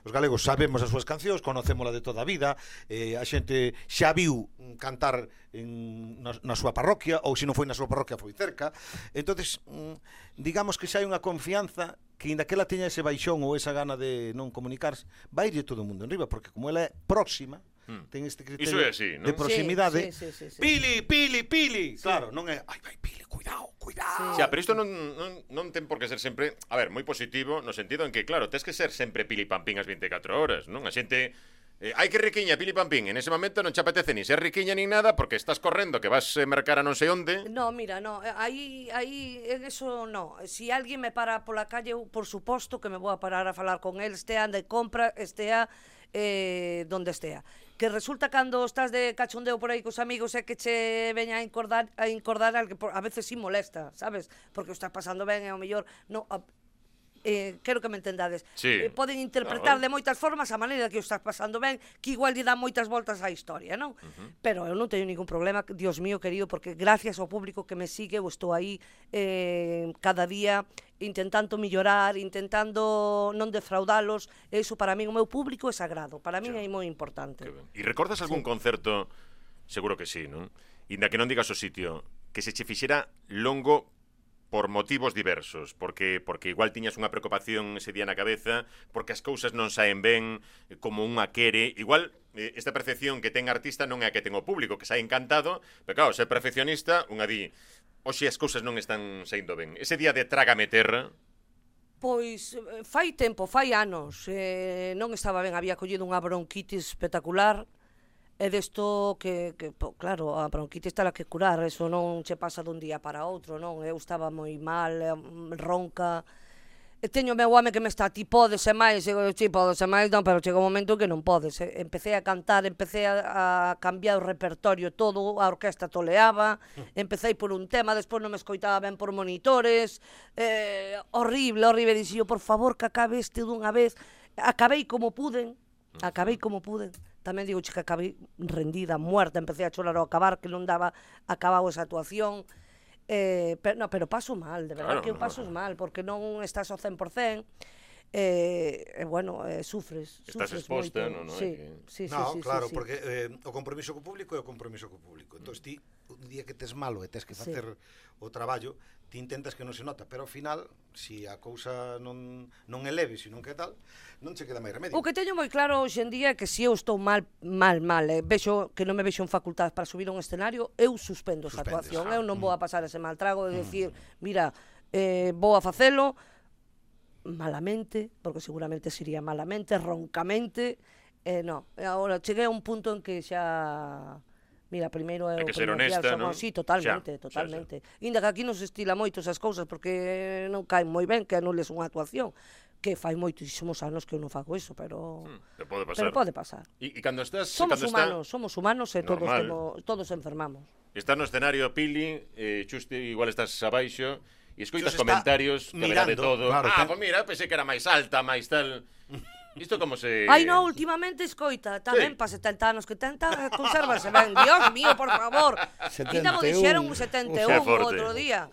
B: os galegos sabemos as súas cancións, conocémola de toda a vida, eh, a xente xa viu mm, cantar en, na, na súa parroquia ou se non foi na súa parroquia foi cerca. Entonces, mm, digamos que xa hai unha confianza que inda que ela teña ese baixón ou esa gana de non comunicarse, vai ir todo o mundo enriba, porque como ela é próxima,
A: Mm.
B: ten este criterio
A: Iso é así, non?
B: de
A: Sí,
B: proximidade.
D: Sí, sí, sí, sí, sí.
B: Pili, Pili, Pili. Claro, non é, ai, vai Pili, cuidado, cuidado.
A: Xa, pero isto non, non, non ten por que ser sempre, a ver, moi positivo no sentido en que, claro, tes que ser sempre pili pampín as 24 horas, non? A xente Eh, hai que riquiña, pili pampín, en ese momento non te apetece nin ser riquiña nin nada porque estás correndo que vas a mercar a non sei onde.
D: No, mira, no, eh, aí, aí, en eso no. Si alguén me para pola calle, eu, por suposto que me vou a parar a falar con el, estea de compra, estea eh, donde estea. Que resulta cando estás de cachondeo por aí cos amigos é que che veña a incordar, a incordar al que por- a veces si molesta, sabes? Porque o estás pasando ben e o mellor no, a, eh, quero que me entendades.
A: Sí.
D: Eh, poden interpretar
A: Ah,
D: de moitas formas a maneira que o estás pasando ben, que igual lle dá moitas voltas á historia, non? Uh -huh. Pero eu non teño ningún problema, Dios mío querido, porque gracias ao público que me sigue, eu estou aí eh, cada día intentando mellorar, intentando non defraudalos, e iso para min o meu público é sagrado, para min é moi importante.
A: Que ben. E recordas algún concerto? Seguro que sí, non? Inda que non digas o sitio, que se che fixera longo por motivos diversos, porque porque igual tiñas unha preocupación ese día na cabeza, porque as cousas non saen ben eh, como unha quere, igual eh, esta percepción que ten artista non é a que ten o público, que sai encantado, pero claro, ser perfeccionista, unha di, oxe as cousas non están saindo ben. Ese día de trágame terra,
D: Pois eh, fai tempo, fai anos, eh, non estaba ben, había collido unha bronquitis espectacular, e desto que, que po, claro, a bronquitis tala que curar, eso non che pasa dun día para outro, non? Eu estaba moi mal, eh, mm, ronca, E teño meu home que me está, ti podes e máis, e eu, ti podes e máis, non, pero chega un momento que non podes. E Empecé a cantar, empecé a, a cambiar o repertorio todo, a
A: [laughs]
D: orquesta toleaba, empecé por un tema, despois non me escoitaba ben por monitores, eh, horrible, horrible, dixi eu, por favor, que acabe este dunha vez. Acabei como puden, acabei como puden. Tamén digo che, que acabei rendida, muerta, empecé a chorar ao acabar, que non daba acabado esa actuación. Eh, pero, no, pero paso mal, de
A: Claro,
D: verdad que eu
A: no.
D: paso mal, porque non estás ao 100%, eh, e bueno, eh, sufres,
A: Estás
D: sufres
A: exposta, non,
D: moito.
A: non,
D: Sí,
A: é que-
D: sí, sí,
B: no,
D: sí, sí,
B: claro,
D: sí.
B: porque eh, o compromiso co público é o compromiso co público. Entón, ti, un día que tes malo e tes que
D: Sí.
B: facer o traballo, ti intentas que non se nota, pero ao final, se a cousa non, non eleve, senón que tal, non che queda máis remedio.
D: O que teño moi claro hoxe en día é que se eu estou mal, mal, mal, eh, vexo que non me vexo en facultades para subir a un escenario, eu suspendo esa
B: Suspendes,
D: actuación,
B: ah,
D: eu
A: mm.
D: non vou a pasar ese mal trago de decir, mira, eh, vou a facelo malamente, porque seguramente sería malamente, roncamente, eh, no, E agora cheguei a un punto en que xa Mira, primeiro é
A: Hai
D: o
A: que ser
D: primordial,
A: honesta,
D: xa,
A: non?
D: Sí, totalmente,
A: Xa, xa, xa.
D: totalmente. Inda que aquí non se estila moito esas cousas porque non caen moi ben que anules unha actuación que fai moitísimos anos que eu non fago iso, pero
A: hmm, Te pode pasar.
D: pero pode pasar.
A: E, e cando estás...
D: Somos
A: pois cando está-
D: humanos, somos humanos e todos
A: Normal.
D: temos, todos enfermamos.
A: Estás no escenario, Pili, eh, Xuste, igual estás abaixo, e escoitas
B: Xus está
A: comentarios que verá de
B: mirando,
A: todo.
B: claro,
A: ah,
B: ten-
A: pois mira, pensei que era máis alta, máis tal. Isto como se...
D: [laughs] Ai, no, últimamente escoita, tamén
A: Eh, Sí.
D: pa 70 anos que tenta, consérvase ben. Dios mío, por favor. Quita mo
E: 71.
D: dixeron un
A: Xa
D: 71
A: é forte.
D: outro día.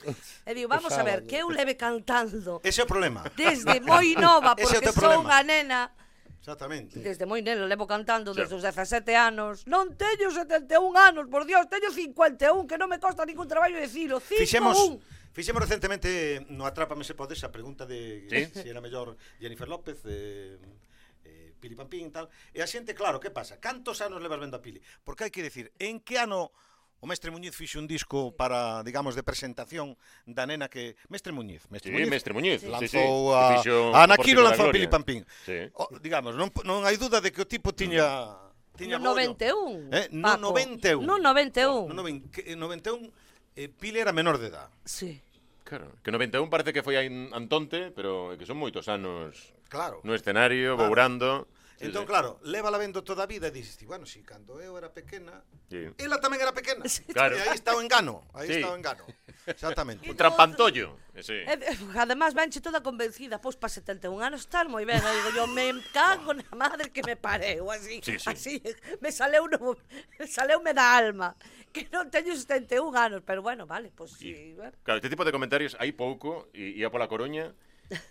D: E digo, vamos a ver,
E: Sábado.
D: que eu leve
A: [laughs]
D: cantando
B: Ese é o problema.
D: desde moi nova,
B: Ese é o teu
D: porque sou
B: problema.
D: unha nena,
B: Exactamente.
D: desde moi nena, levo cantando
A: Xa.
D: desde os 17 anos. Non teño 71 anos, por Dios, teño 51, que non me costa ningún traballo dicilo. 51.
B: Fixemos Fixemos recentemente no Atrápame se podes a pregunta de
A: Sí.
B: se era mellor Jennifer López, eh, eh, Pili Pampín e tal. E a xente, claro, que pasa? Cantos anos levas vendo a Pili? Porque hai que decir, en que ano o Mestre Muñiz fixo un disco para, digamos, de presentación da nena que... Mestre Muñiz,
A: Sí,
B: Mestre Muñiz.
A: Mestre Muñiz, sí, sí, que
B: Lanzou a,
A: fixo o
B: a Ana
A: Portico
B: Quiro
A: da
B: lanzou a
A: Gloria.
B: Pili Pampín.
A: Sí.
B: O, digamos, non, non hai duda de que o tipo tiña... tiña
D: No
B: bollo.
D: 91,
B: Eh, no
D: Paco.
B: 91.
D: No
B: No,
D: 91.
B: noven- que- eh, 91 eh, Pili era menor de edad.
D: Sí.
A: Claro, que 91 parece que foi aí en Antonte, pero é que son moitos anos
B: Claro.
A: no escenario,
B: Claro.
A: bourando. Sí,
B: Ah.
A: sí.
B: entón, claro, lévala vendo toda a vida e dices, ti, bueno, si cando eu era pequena,
A: Sí.
B: ela tamén era pequena.
D: [laughs]
A: Claro.
B: E aí está o engano, aí
A: Sí.
B: está o engano.
D: [laughs]
B: Exactamente.
A: Un trampantollo. Eh, Sí.
D: E, e, Eh, además venche toda convencida, pois pa 71 anos tal moi ben, Eu digo yo me cago na madre que me pareu, así,
A: Sí, sí.
D: así, me saleu no, me saleu me da alma, que non teño 71 anos, pero bueno, vale, pois si, bueno.
A: Claro, este tipo de comentarios hai pouco, i- ia pola Coruña,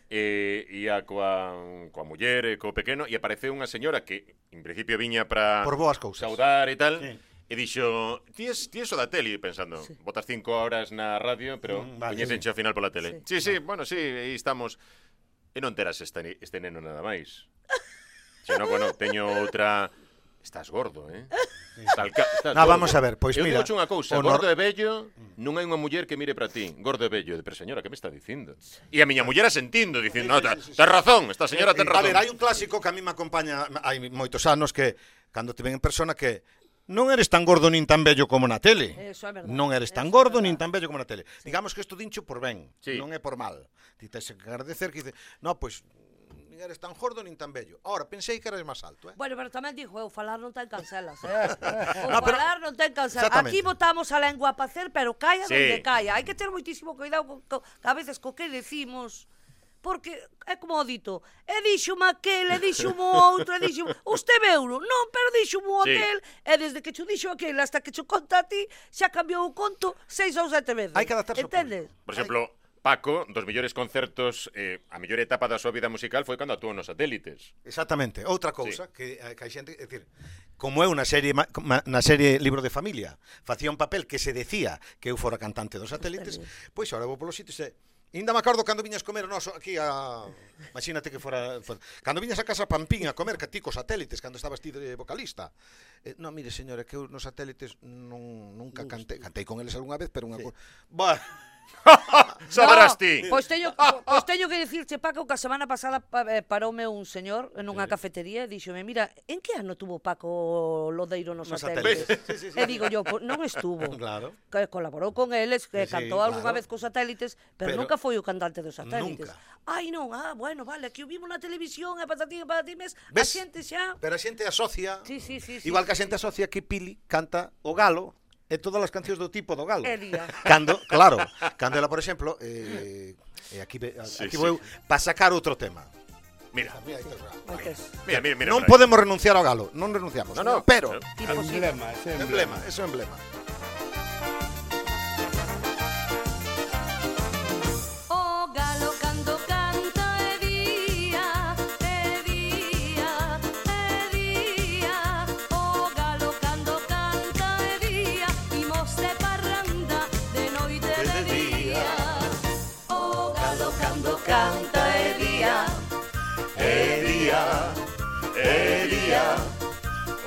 A: e ia coa, coa muller e co pequeno, e apareceu unha señora que, en principio, viña para
B: Por boas cousas.
A: saudar e tal,
B: Sí.
A: e dixo, ti es, ti es o da tele, pensando, botas cinco horas na radio, pero
B: Mm,
A: mm,
B: vale. Ah.
A: vale, ao final pola tele. Sí, sí, sí bueno, sí, aí estamos. E non terás este, ni- este neno nada máis. Se non, bueno, teño outra... Estás gordo, eh? Tal ca- estás
B: No, Ah, vamos a ver, pois
A: Eu
B: mira,
A: digo unha cousa,
B: o nor- Mm.
A: gordo e bello, non hai unha muller que mire para ti, gordo e bello, pero señora, que me está dicindo? E a miña muller asentindo, dicindo, no, ta- tens razón, esta señora ten
B: A
A: razón.
B: ver, Eh, hai un clásico que a mí me acompaña hai moitos anos que cando te ven en persona que non eres tan gordo nin tan bello como na tele.
D: Eso é verdade.
B: Non eres tan
D: Eso é
B: gordo
D: verdade.
B: nin tan bello como na tele. Digamos que isto dincho por ben,
A: Sí.
B: non é por mal. Ti tes que agradecer que dices, no, pois nin eres tan gordo nin tan bello. Ahora, pensei que eras máis alto, eh?
D: Bueno, pero tamén dixo, eu falar non ten
B: [laughs]
D: cancelas. Eh?
B: No, Ah,
D: O
B: pero-
D: falar non ten cancelas.
B: Exactamente.
D: Aquí botamos a lengua a pacer, pero caia
A: Sí.
D: donde caia. Hai que ter moitísimo cuidado co, co, a veces co que decimos. Porque é como o dito, e dixo-me aquel, e dixo-me outro, e dixo
B: [laughs]
D: Usted veuno, non, pero dixo-me o
A: Sí.
D: aquel, e desde que cho dixo aquel hasta que cho conta a ti, xa cambiou o conto seis ou sete veces.
B: Hai que adaptarse ao
D: Entendes?
A: Por exemplo, Paco, dos mellores concertos, eh, a mellor etapa da súa vida musical foi cando actuou nos satélites.
B: Exactamente, outra cousa sí. que, eh, que hai xente, é dicir, como eu na serie ma- ma- na serie Libro de familia, facía un papel que se decía que eu fora cantante dos satélites, pois ahora vou polos sitios e Inda me acordo cando viñas comer o noso aquí a... Imagínate que fora... fora- Cando viñas a casa Pampín a comer que ti cos satélites, cando estabas ti de vocalista. Eh, no, mire, señora, que eu nos satélites non, nunca cantei. Cantei con eles algunha vez, pero unha... Sí. Bah,
A: Sabrás ti.
D: No, pues pois teño, [laughs] po- pois teño que dicirche, Paco, que a semana pasada pa, eh, paroume un señor en unha cafetería e díxome, mira, en que ano tuvo Paco Lodeiro nos
B: Nos
D: satélites?
B: satélites.
D: Sí, sí, sí. E digo yo, "Pois non estuvo.
B: [laughs] Claro.
D: Que colaborou con eles,
B: Sí,
D: que
B: sí,
D: cantou algunha
B: claro.
D: vez cos satélites, pero,
B: Pero-
D: nunca foi o cantante dos satélites.
B: Nunca.
D: Ai, non, ah, bueno, vale, que o vimos na televisión, e patatín, e patatimes, a
B: Ves?
D: xente xa...
B: Pero a xente asocia
D: Sí, sí, sí, sí.
B: Igual que a xente asocia que Pili canta o galo e todas as cancións do tipo do galo.
D: Elía.
B: Cando, claro, cando ela, por exemplo, eh, eh, aquí, ve-
A: Sí, sí.
B: aquí vou para sacar outro tema.
A: Mira,
B: Mira, aí tes o galo.
D: Antes,
A: mira, mira, mira.
B: non
A: por
B: podemos renunciar ao galo, non renunciamos.
A: No, no,
B: pero
A: claro.
D: imposible.
E: [laughs] Emblema, ese
B: emblema, eso é emblema.
F: O galo canto canta e día, e día, e día O galo canto canta e día Imos de parranda de noite e de día O galo canto canta e día
A: E día, e día,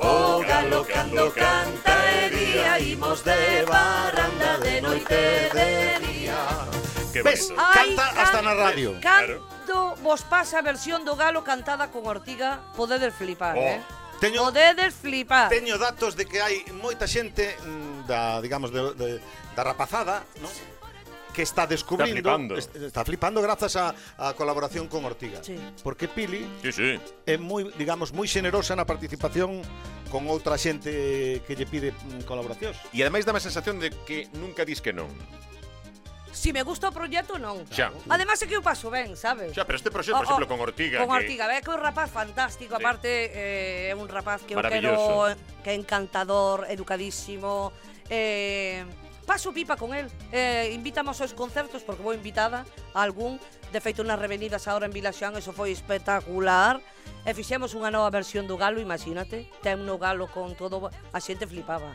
A: o galo cando canta e día, imos de baranda de noite de día. Que
B: Ves,
A: bonito.
D: Ai,
B: canta hasta na radio.
A: Claro.
D: Cando vos pasa a versión do galo cantada con Ortiga, podedes flipar,
A: Oh.
D: eh?
B: Teño-
D: Podedes flipar.
B: Teño datos de que hai moita xente mm, da, digamos, de, de, da rapazada, ¿no? que está descubrindo,
A: flipando.
B: est- está flipando grazas a, a colaboración con Ortiga.
D: Sí.
B: Porque Pili
A: Sí, sí.
B: é moi, digamos, moi xenerosa na participación con outra xente que lle pide mm, colaboracións.
A: E ademais dame a sensación de que nunca dis que non.
D: Si me gusta o proxecto, non.
A: Xa.
D: Además é que eu paso ben, sabes?
A: Xa, pero este proxecto, por
D: O- o-
A: exemplo, con Ortiga,
D: Oh, Con
A: que-
D: Ortiga, ve que é un rapaz fantástico,
A: Sí.
D: aparte eh, é un rapaz que eu
A: Maravilloso.
D: quero, que é encantador, educadísimo, eh, paso pipa con él. Eh, invítamos aos concertos porque vou invitada a algún, de feito nas revenidas agora en Vilaxán, eso foi espectacular. E fixemos unha nova versión do galo, imagínate, ten no galo con todo, a xente flipaba.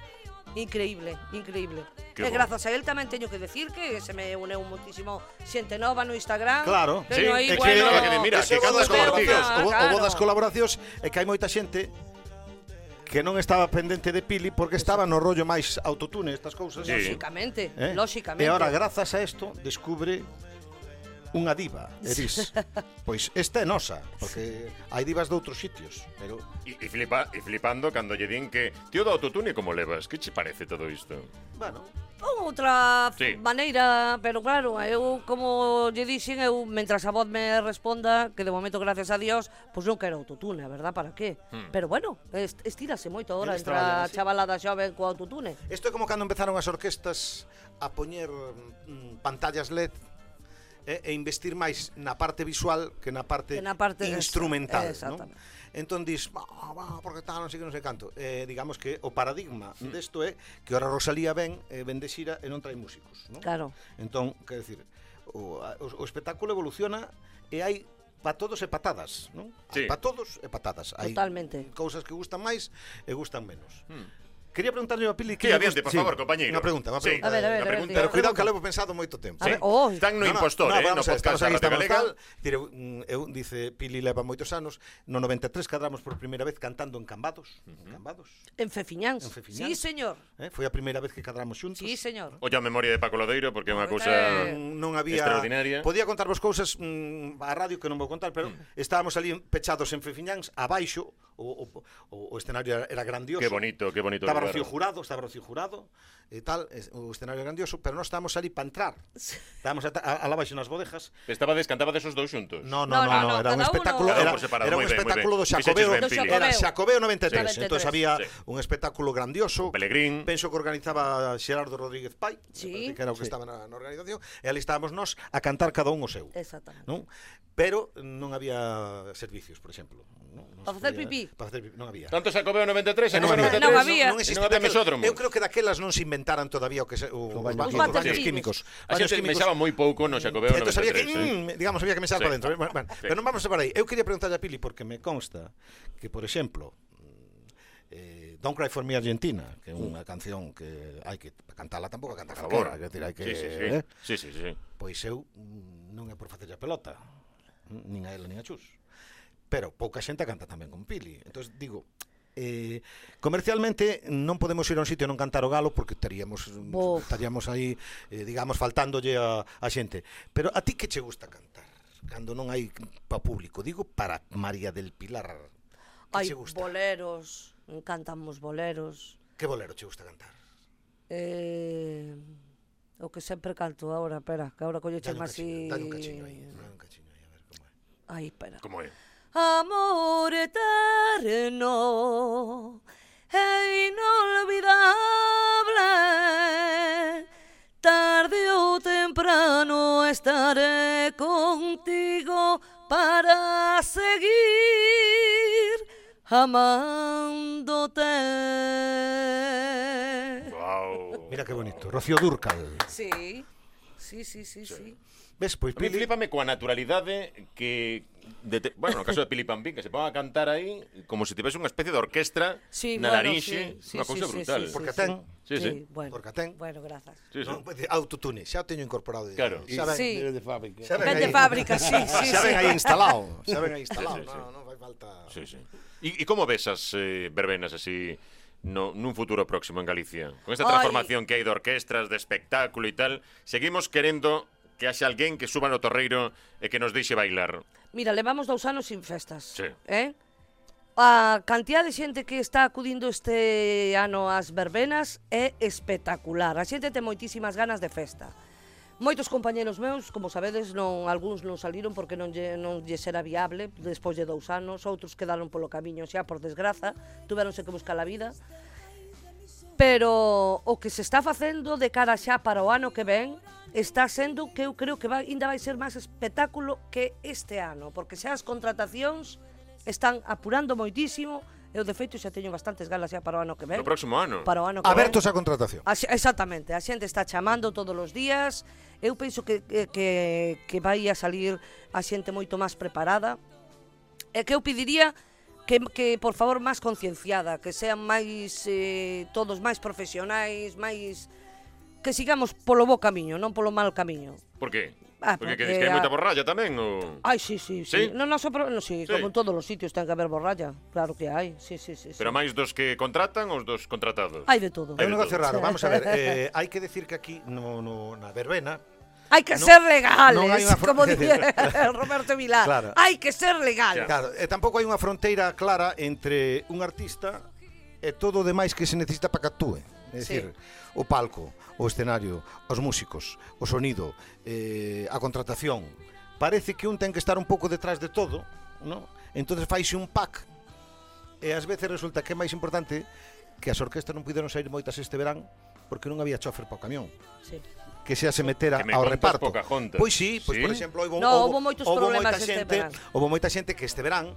D: Increíble, increíble.
A: Que
D: e
A: bo.
D: grazas a él tamén teño que decir que se me uneu muitísimo xente nova no Instagram.
B: Claro.
A: Sí,
D: Teño aí,
A: é que-
D: bueno,
A: é que mira,
B: Eso
A: que
B: é o
A: cantas
B: das
A: con Ortiga.
B: colaboracións. O, o bo das
D: Claro.
B: colaboracións é que hai moita xente que non estaba pendente de Pili porque estaba no rollo máis autotune, estas cousas.
A: Sí.
D: Lóxicamente,
B: Eh?
D: lóxicamente.
B: E ahora, grazas a isto, descubre unha diva, e dis, pois esta é nosa, porque hai divas de outros sitios, pero
A: E, e, flipa, e flipando cando lle din que tío do autotune como levas, que che parece todo isto?
B: bueno,
D: Outra
A: Sí.
D: sí. maneira, pero claro, eu como lle dixen, eu mentras a voz me responda, que de momento gracias a Dios, pois non quero autotune, a verdad, para qué? Pero bueno, est estírase moito agora
B: Eles
D: entre
B: traballan,
D: a
B: sí.
D: chavalada xoven co autotune.
B: Isto é como cando empezaron as orquestas a poñer mm, pantallas LED eh, e, e investir máis na parte visual que na parte,
D: Que na parte esa,
B: instrumental, non?
D: exactamente.
B: Entón dis, "Bah, bah, porque tal, non sei que non sei canto. Eh, digamos que o paradigma desto é que ora Rosalía ven, eh, ven de xira e non trae músicos, non?
D: Claro.
B: Entón, quer decir, o, a- o, o espectáculo evoluciona e hai pa todos e patadas, non?
A: Sí.
B: Pa todos e patadas. Hai
D: Totalmente.
B: cousas que gustan máis e gustan menos. Quería preguntarlle a Pili
A: Que adiante, por favor, compañeiro.
B: Una pregunta, una
A: Sí,
B: pregunta.
D: A ver, a ver,
A: unha
D: a ver,
A: pregunta.
D: diga.
B: Pero cuidado que lo hemos pensado moito tempo.
D: A
A: Sí.
D: ver, oh.
A: Están no, impostor, eh, no
B: vamos a ver,
A: podcast da Radio
B: estamos aquí,
A: Galega.
B: estamos tal. Dire, mm, eu, dice Pili leva moitos anos, no 93 cadramos por primeira vez cantando en Cambados, en Cambados.
D: En Fefiñáns.
B: En Fefiñáns.
D: Sí, señor.
B: Eh? Foi a primeira vez que cadramos xuntos. Mm,
D: Sí, señor.
A: Olla a memoria de Paco Lodeiro porque é unha
D: Porque
A: cousa...
D: é-
B: non había
A: Extraordinaria. Mm.
B: Podía contarvos cousas mm, a radio que non vou contar, pero estábamos ali pechados en Fefiñáns, abaixo o, o, o, o escenario era- era grandioso.
A: Que bonito, que bonito lugar.
B: Estaba Rocío Jurado, estaba Rocío Jurado e tal, es- o escenario grandioso, pero nós estábamos ali para entrar. Estábamos ata- a, a la baixo nas bodejas.
A: Estabades, cantabades os dous xuntos.
B: No,
D: No,
B: no, no, no,
D: no, no,
B: era un
D: cada uno-
B: espectáculo,
D: Cada uno
B: era,
A: por separado,
B: era
A: muy
B: un
A: bien, muy
B: espectáculo
A: bien.
B: Xacobeo,
A: Fixeches ben,
D: Pili.
B: era Xacobeo 93,
D: Sí.
B: entonces había
D: Sí.
B: un espectáculo grandioso.
A: Pelegrín.
B: Penso que organizaba Xerardo Rodríguez Pai, me
D: Sí.
B: parece que era o que estaba na, na organización, e ali estábamos nós a cantar cada un o seu.
D: Exactamente.
B: Non? Pero non había servicios, por exemplo. Non, non
D: Para
B: se
D: facer
B: podía-
D: pipí.
B: Para facer pipí, non había.
A: Tanto Xacobeo 93 e
D: Non
A: número
D: había.
A: 93.
D: Non había.
A: Non
B: existía
A: existía
B: aquel-
A: mesódromo.
B: Eu creo que daquelas non se inventaran todavía o que se, o, os baños,
D: químicos. Os
B: os baños
D: baños
B: químicos.
A: A xente pensaba moi pouco no Xacobeo 93.
B: Entón sabía que,
A: eh.
B: mm, digamos, había que pensar
A: Sí.
B: para dentro. Bueno, bueno,
A: Sí.
B: Pero non vamos a parar aí. Eu quería preguntarle a Pili porque me consta que, por exemplo, mm, eh, Don't Cry for Me Argentina, que é unha canción que hai que cantala tampouco canta
A: Mm. Por favor.
B: calquera, quer decir, hai que
A: Sí, sí, sí.
B: eh?
A: Sí, sí, sí.
B: Pois eu mm, non é por facerlle a pelota, nin a ela nin a Chus. Pero pouca xente canta tamén con Pili. Entón digo, eh, comercialmente non podemos ir a un sitio e non cantar o galo porque estaríamos
D: Bof.
B: estaríamos aí, eh, digamos, faltándolle a, a xente. Pero a ti que che gusta cantar? Cando non hai pa público, digo para María del Pilar. Que
D: Hai
B: che gusta?
D: boleros, cantamos boleros.
B: Que bolero che gusta cantar?
D: Eh, o que sempre canto ahora, espera, que ahora
B: Dale
D: colleche
B: un
D: máis
B: cachiño,
D: así...
B: dale un cachiño aí, eh. dale un cachiño aí, a ver como é.
D: Ai, espera.
A: Como é?
D: Amor eterno e inolvidable, tarde o temprano estaré contigo para seguir amándote.
A: Wow.
B: Mira que bonito, Rocío Durcal.
D: Sí, sí, sí, sí, sí.
B: Ves, pois
A: A mí
B: Pili,
A: flipame coa naturalidade que de te, bueno, no caso de Pili Pampín, que se ponga a cantar aí como se tivese unha especie de orquestra
D: Sí,
A: na
D: bueno,
A: narixe,
D: sí, sí,
A: unha cousa
D: sí, sí,
A: ¿eh? brutal.
D: sí,
B: porque
D: sí,
B: ten,
A: Sí, sí.
D: bueno.
B: porque ten.
D: Bueno, gracias.
A: Sí, sí.
B: non, de autotune, xa o teño incorporado. de-
A: Claro.
B: Xa ven,
D: Sí.
E: Debe de fábrica.
B: xa ven
D: Ven de
B: aí.
D: fábrica,
B: [laughs]
D: sí, sí,
B: xa ven
D: sí.
B: aí instalado, xa ven aí
A: Sí,
B: instalado.
A: sí, sí.
B: Non, non fai falta.
A: Sí, sí. E, e como ves as eh, verbenas así no, nun futuro próximo en Galicia? Con esta
D: Ai.
A: transformación que hai de orquestras, de espectáculo e tal, seguimos querendo que haxe alguén que suba no torreiro e que nos deixe bailar.
D: Mira, levamos dous anos sin festas.
A: Sí.
D: Eh? A cantidad de xente que está acudindo este ano ás verbenas é espectacular. A xente ten moitísimas ganas de festa. Moitos compañeros meus, como sabedes, non algúns non saliron porque non lle, non lle era viable despois de dous anos, outros quedaron polo camiño xa por desgraza, tuveronse que buscar a vida. Pero o que se está facendo de cara xa para o ano que ven está sendo que eu creo que vai, ainda vai ser máis espectáculo que este ano, porque xa as contratacións están apurando moitísimo, eu de feito xa teño bastantes galas xa para o ano que ven.
A: No próximo ano.
D: Eh? Para o ano que ven.
B: Abertos a contratación.
D: A xe- exactamente, a xente está chamando todos os días. Eu penso que, que, que, que vai a salir a xente moito máis preparada. E que eu pediría que, que por favor, máis concienciada, que sean máis, eh, todos máis profesionais, máis... Que sigamos polo bo camiño, non polo mal camiño.
A: Por que?
D: Ah,
A: porque,
D: porque
A: que, dis que hai
D: a-
A: moita borralla tamén? O...
D: Ai, sí, sí,
A: Sí?
D: sí. No, no, só pro, no, sí,
A: Sí.
D: como en todos os sitios ten que haber borralla. Claro que hai, sí, sí, sí. sí.
A: Pero máis dos que contratan ou os dos contratados?
D: Hai de todo.
B: É
A: de
B: un negocio
A: todo.
B: raro. Vamos a ver, eh, hai que decir que aquí no, no, na verbena
D: Hai que
B: Non-
D: ser legales,
B: non hai unha fro-
D: [laughs] como dicía Roberto Vilar.
B: Claro.
D: Hai que ser legales.
B: Claro, e tampouco hai unha fronteira clara entre un artista e todo o demais que se necesita para que actúe. É
D: Sí.
B: dicir, o palco, o escenario, os músicos, o sonido, eh, a contratación. Parece que un ten que estar un pouco detrás de todo, ¿no? entonces faise un pack e ás veces resulta que é máis importante que as orquestas non puderon sair moitas este verán porque non había chofer para o camión
D: Sí.
B: que xa se metera
A: Que me
B: ao
A: contas
B: reparto.
A: Pocahontas.
B: Pois sí, pois
A: Sí?
B: por exemplo, houve,
D: No, houbo moitos problemas
B: moita
D: este
B: xente,
D: verán.
B: Houve moita xente que este verán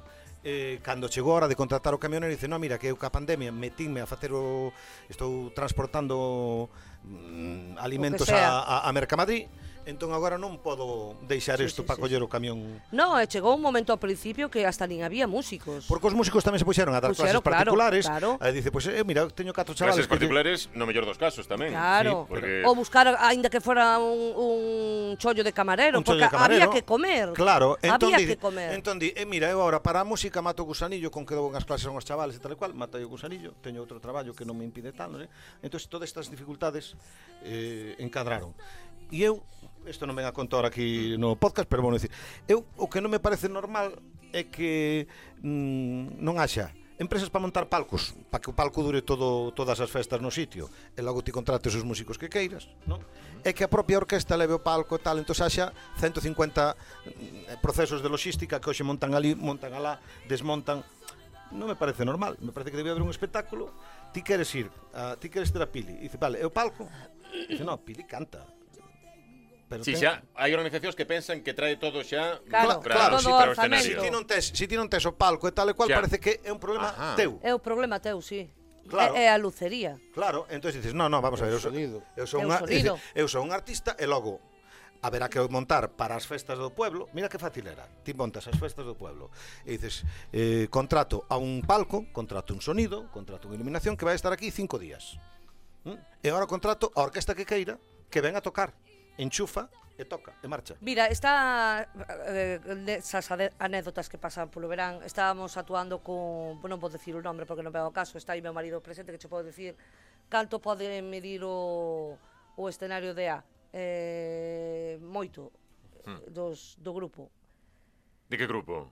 B: Eh, cando chegou a hora de contratar o camionero dice, no, mira, que eu ca pandemia metinme a facer o... Estou transportando mm, alimentos
D: sea.
B: a, a, a Mercamadrid Entón agora non podo deixar
D: Sí,
B: isto
D: sí,
B: para
D: sí,
B: coller o camión
D: No, e chegou un momento ao principio que hasta nin había músicos.
B: Porque os músicos tamén se puxeron a dar clases
D: Puxeron, claro,
B: particulares
D: claro.
B: Eh, Dice, pois pues, eh, mira, teño catro chavales
A: Clases
B: que lle-
A: particulares, no mellor dos casos tamén.
D: Claro. oh,
A: Sí, porque...
D: O buscar, aínda que fora un, un chollo de
B: un
D: camarero,
B: chollo de
D: porque
B: camarero.
D: había que comer.
B: Claro, entón
D: había
B: di-
D: que comer.
B: Entón di, eh, mira, eu agora para a música mato o gusanillo con que dou unhas clases a unhos chavales e tal e cual, matei o gusanillo, teño outro traballo que non me impide tal, non sei. Entón todas estas dificultades eh, encadraron. E eu, isto non ven a conta ahora aquí no podcast, pero bueno, decir, eu o que non me parece normal é que mm, non haxa empresas para montar palcos, para que o palco dure todo todas as festas no sitio, e logo ti contrates os músicos que queiras, non? É que a propia orquesta leve o palco e tal, entón haxa 150 mm, procesos de logística que hoxe montan ali, montan alá, desmontan. Non me parece normal, me parece que debe haber un espectáculo. Ti queres ir, a, ti queres ter a Pili, e dice, vale, é o palco? Dice, no, Pili canta. Pero
A: Sí,
B: ten-
A: xa, hai organizacións que pensan que trae todo xa
D: Claro,
A: para,
B: claro,
A: sí,
D: todo
A: para o escenario.
D: orzamento. Sí,
B: ti non tes, si ti non tes o palco e tal e cual,
A: Xa.
B: parece que é un problema
A: Ajá.
B: teu.
D: É o problema teu, sí.
B: Claro.
D: É, é a lucería.
B: Claro, entón dices, no, no, vamos a ver, eu,
E: O
B: sou-
E: sonido.
B: eu sou
D: É o
B: unha,
D: sonido.
B: dice, eu sou un artista e logo haberá que montar para as festas do pueblo, mira que fácil era, ti montas as festas do pueblo e dices, eh, contrato a un palco, contrato un sonido, contrato unha iluminación que vai estar aquí cinco días. ¿Mm? E agora contrato a orquesta que queira que ven a tocar, enchufa e toca, e marcha.
D: Mira, está eh, esas ade- anécdotas que pasan polo verán Estábamos actuando con, bueno, non vou decir o nome porque non veo o caso Está aí meu marido presente que che podo decir Canto pode medir o, o escenario de A eh, Moito
A: Hmm.
D: eh, dos, do grupo
A: De que grupo?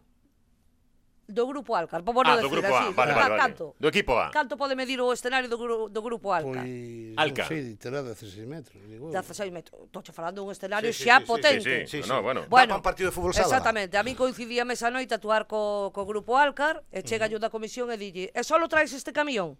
D: Do grupo Alcar, vou non
A: ah, do
D: decir
A: grupo
D: así
A: A, vale,
D: ca-
A: vale, vale.
D: Canto,
A: Do equipo A.
D: canto pode medir o escenario do, gru, do grupo Alcar
E: Pois,
A: Alca.
E: non sei, terá 16 metros. Digo, eu.
D: 16 metros. Estou falando dun escenario
B: Sí, sí, sí,
D: xa
B: sí,
D: potente.
A: sí, sí, no, bueno.
B: Dá pa un partido de fútbol sala.
D: Exactamente. A mí coincidíame esa noite a actuar co, co grupo Alcar, e chega yo da comisión e dille, e solo traes este camión?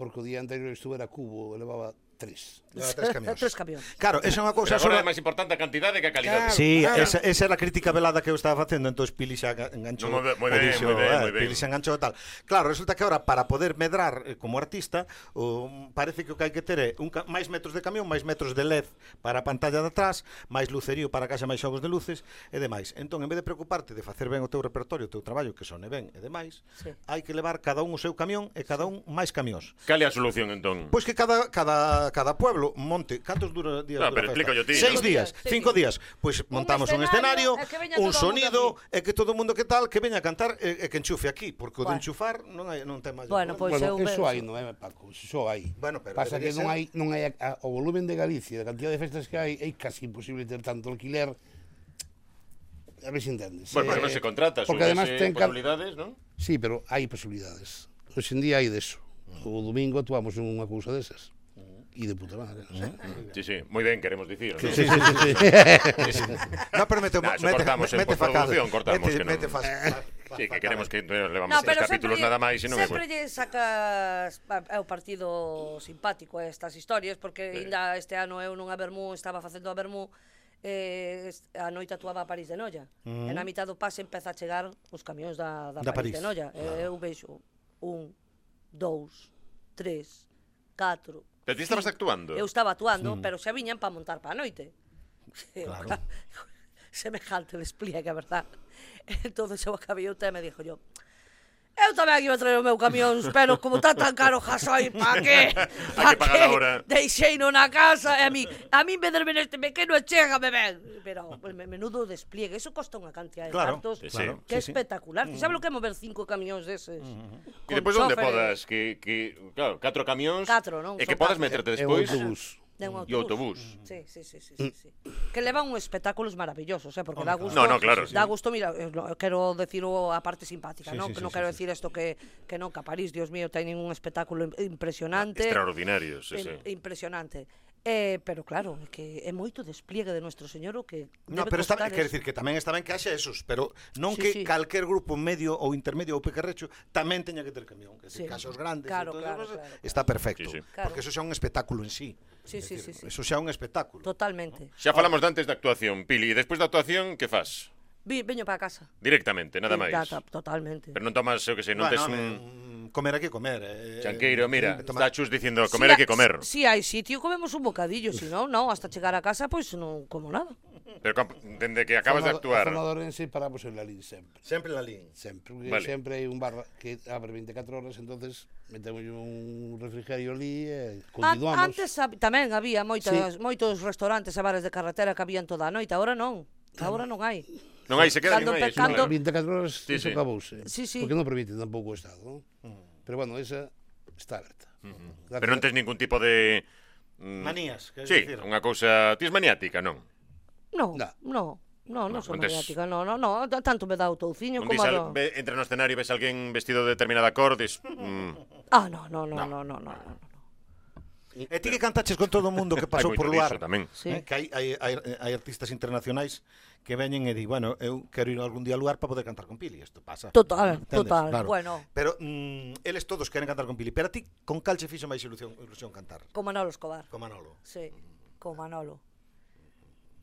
E: Porque o día anterior estuvera Cubo, levaba tres.
B: Leva Ah,
D: [laughs]
B: Tres camións.
D: Tres camións.
B: Claro, esa é unha
A: Pero
B: cousa
A: agora é
B: sobre...
A: máis importante a cantidade que a calidade.
B: Sí, esa, esa era a crítica velada que eu estaba facendo, entón Pili xa ga- enganchou.
A: No, moi ben, moi
B: o
A: ben,
B: dixo,
A: moi ben,
B: eh,
A: moi ben.
B: Pili xa enganchou e tal. Claro, resulta que ahora para poder medrar eh, como artista, o, parece que o que hai que ter é un ca- máis metros de camión, máis metros de LED para a pantalla de atrás, máis lucerío para casa, máis xogos de luces e demais. Entón, en vez de preocuparte de facer ben o teu repertorio, o teu traballo que sone ben e demais,
D: Sí.
B: hai que levar cada un o seu camión e cada un máis camións.
A: Cal é a solución, entón?
B: Pois que cada cada cada pueblo monte, cantos dura días
A: Ah,
B: dura
A: pero
B: a festa?
A: explícayo ti, ¿no?
B: Seis días,
D: Sí.
B: cinco días. Pois montamos un escenario,
D: escenario, é que
B: un
D: veña todo o mundo
B: sonido,
D: aquí.
B: e que todo o mundo que tal que veña a cantar e, e que enchufe aquí, porque o de
D: Bueno.
B: enchufar non hai non ten máis.
D: Bueno, pois eu
E: bueno, eso
D: penso.
E: hai, non é, Paco? Eso hai.
B: Bueno, pero
E: Pasa que
B: debería
E: non
B: ser-
E: hai, non hai a, a, o volumen de Galicia, a cantidad de festas que hai, é casi imposible ter tanto alquiler. A ver se entendes.
A: Bueno, porque
E: Eh,
A: non se contrata,
E: porque además ten ca-
A: posibilidades, non?
E: Sí, pero hai posibilidades. Hoxe en día hai deso. O domingo actuamos en unha cousa desas.
A: Mm.
E: E de puta madre, non sei.
A: Sí, sí, moi ben, queremos dicir. non?
B: Sí, sí, sí, sí.
A: [laughs]
B: no, pero mete,
A: Nah, eso
B: mete,
A: cortamos en
B: mete facada.
A: postproducción, cortamos
B: mete,
A: que non-
B: mete fas,
A: Sí, que queremos que eh, levamos
D: No,
A: tres
D: pero
A: capítulos
D: sempre,
A: nada máis e non é
D: sempre
A: bueno.
D: lle sacas pa- é o partido simpático a estas historias porque
A: Sí.
D: ainda este ano eu nunha Bermú estaba facendo a Bermú eh, est- a noite actuaba a París de Noia e na mitad do pase empeza a chegar os camións da, da,
B: Da
D: París,
B: París,
D: de Noia e eu vexo un, dous, tres, catro
A: Pero ti estabas actuando.
D: eu estaba
A: Mm.
D: actuando pero xa viñan para montar para a noite [laughs] claro. [laughs] semejante despliegue, verdad? Entón eu acabei o tema e dixo yo, eu tamén aquí vou traer o meu camión, pero como está tan caro jasoi, pa
A: [laughs]
D: que?
A: Hai que pagar agora."
D: Deixei no na casa e a mí, a mí venderme neste pequeno e chégame ben. Pero me- menudo despliegue, eso costa unha cantidad de
B: Claro,
D: cartos.
A: Sí, Mm.
B: claro,
D: Que
B: sí, sí.
D: espectacular. Ti sabes lo que é mover cinco camións deses?
A: E depois onde podas que, que claro, catro camións
D: Catro, non?
A: e que
D: Son
A: podas
D: catro.
A: meterte
E: É o
A: despois.
E: autobús.
D: De
B: Mm.
D: un autobús.
A: E o autobús.
D: Sí, sí, sí, sí, sí, sí. Que levan un espectáculos maravillosos,
B: Oh,
D: eh, porque dá gusto.
A: No, no, claro, sí.
D: Dá gusto, mira, eh, no, quero decirlo a parte simpática,
B: Sí, sí,
D: non? que
B: sí,
D: non
B: sí,
D: quero
B: sí.
D: decir isto que que non, que a París, Dios mío, teñen un espectáculo im- impresionante.
A: Extraordinarios, sí, sí.
D: im- Impresionante. Eh, pero claro, é que é moito despliegue de nuestro señor o que
B: No,
D: debe
B: pero está,
D: costar
B: quer
D: eso.
B: decir que tamén está ben que haxa esos, pero non
D: Sí,
B: que
D: sí.
B: calquer grupo medio ou intermedio ou pequerrecho tamén teña que ter camión, que
D: Sí.
B: decir, casos grandes,
D: Claro,
B: e todas
D: claro,
B: esas
D: claro, claro.
B: está perfecto,
A: Sí, sí.
D: Claro.
B: porque eso xa é un espectáculo en sí.
D: Sí,
B: Es
D: sí,
B: decir,
D: sí, sí.
B: Eso xa é un espectáculo.
D: Totalmente.
A: Xa falamos de antes da actuación, Pili, e despois da actuación que fas?
D: Vi, veño para casa.
A: Directamente, nada
D: Sí,
A: máis.
D: ta- ta- Totalmente.
A: Pero non tomas, eu que sei, non
B: Bueno,
A: tes
B: home,
A: un
B: mm, comer hai que comer. Eh,
A: chanqueiro, mira,
B: eh, tomar-
A: está Chus dicindo comer hai que comer.
D: Si, si hai sitio, comemos un bocadillo, si non, non,
B: [laughs]
D: hasta chegar a casa pois non como nada.
A: Pero com- dende que acabas de
E: Zona-
A: actuar.
E: A zona de Orense paramos en Lalín sempre.
B: Sempre la lin.
E: Sempre, porque
A: Vale.
E: sempre hai un bar que abre 24 horas, entonces metemos un refrigerio ali e
D: An-
E: continuamos.
D: Ah, Antes hab- tamén había moitas, moitos restaurantes e bares de carretera que habían toda a noite, agora non. Agora non hai.
A: Non hai, se queda non
D: Cando
A: hai. eso,
D: pecando-
A: claro.
E: 24 horas
A: Sí, sí. Mm.
E: sí, iso sí. acabouse.
D: Sí, sí.
E: Porque non permite tampouco o Estado, non? Pero bueno, esa está aberta. Gracias.
A: Pero non tes ningún tipo de mm,
B: Manías, quer
A: Sí,
B: dicir.
A: unha cousa, ti és maniática, non?
D: Non,
E: Na.
D: non. Non,
A: No,
D: non son
A: non tes-
D: maniática, non, non, non, t- tanto me dá o touciño
A: Non
D: como
A: dis,
D: a
A: al,
D: do...
A: ve, entra no escenario e ves alguén vestido de determinada cor,
D: [laughs]
A: dis, mm,
D: Ah, non, non, non, non, non, non. non.
B: E ti que Eh, cantaches con todo o mundo que
A: hai
B: pasou
A: moito
B: por
A: diso
B: luar.
A: tamén.
D: Sí.
B: Eh, que hai, hai, hai, hai artistas internacionais que veñen e di, bueno, eu quero ir algún día a lugar para poder cantar con Pili, isto pasa.
D: Total,
B: Entendes?
D: total,
B: Claro.
D: bueno.
B: Pero mm, eles todos queren cantar con Pili, pero a ti con cal che fixo máis ilusión, ilusión cantar?
D: Con Manolo Escobar.
B: Con Manolo.
D: Sí, con Manolo.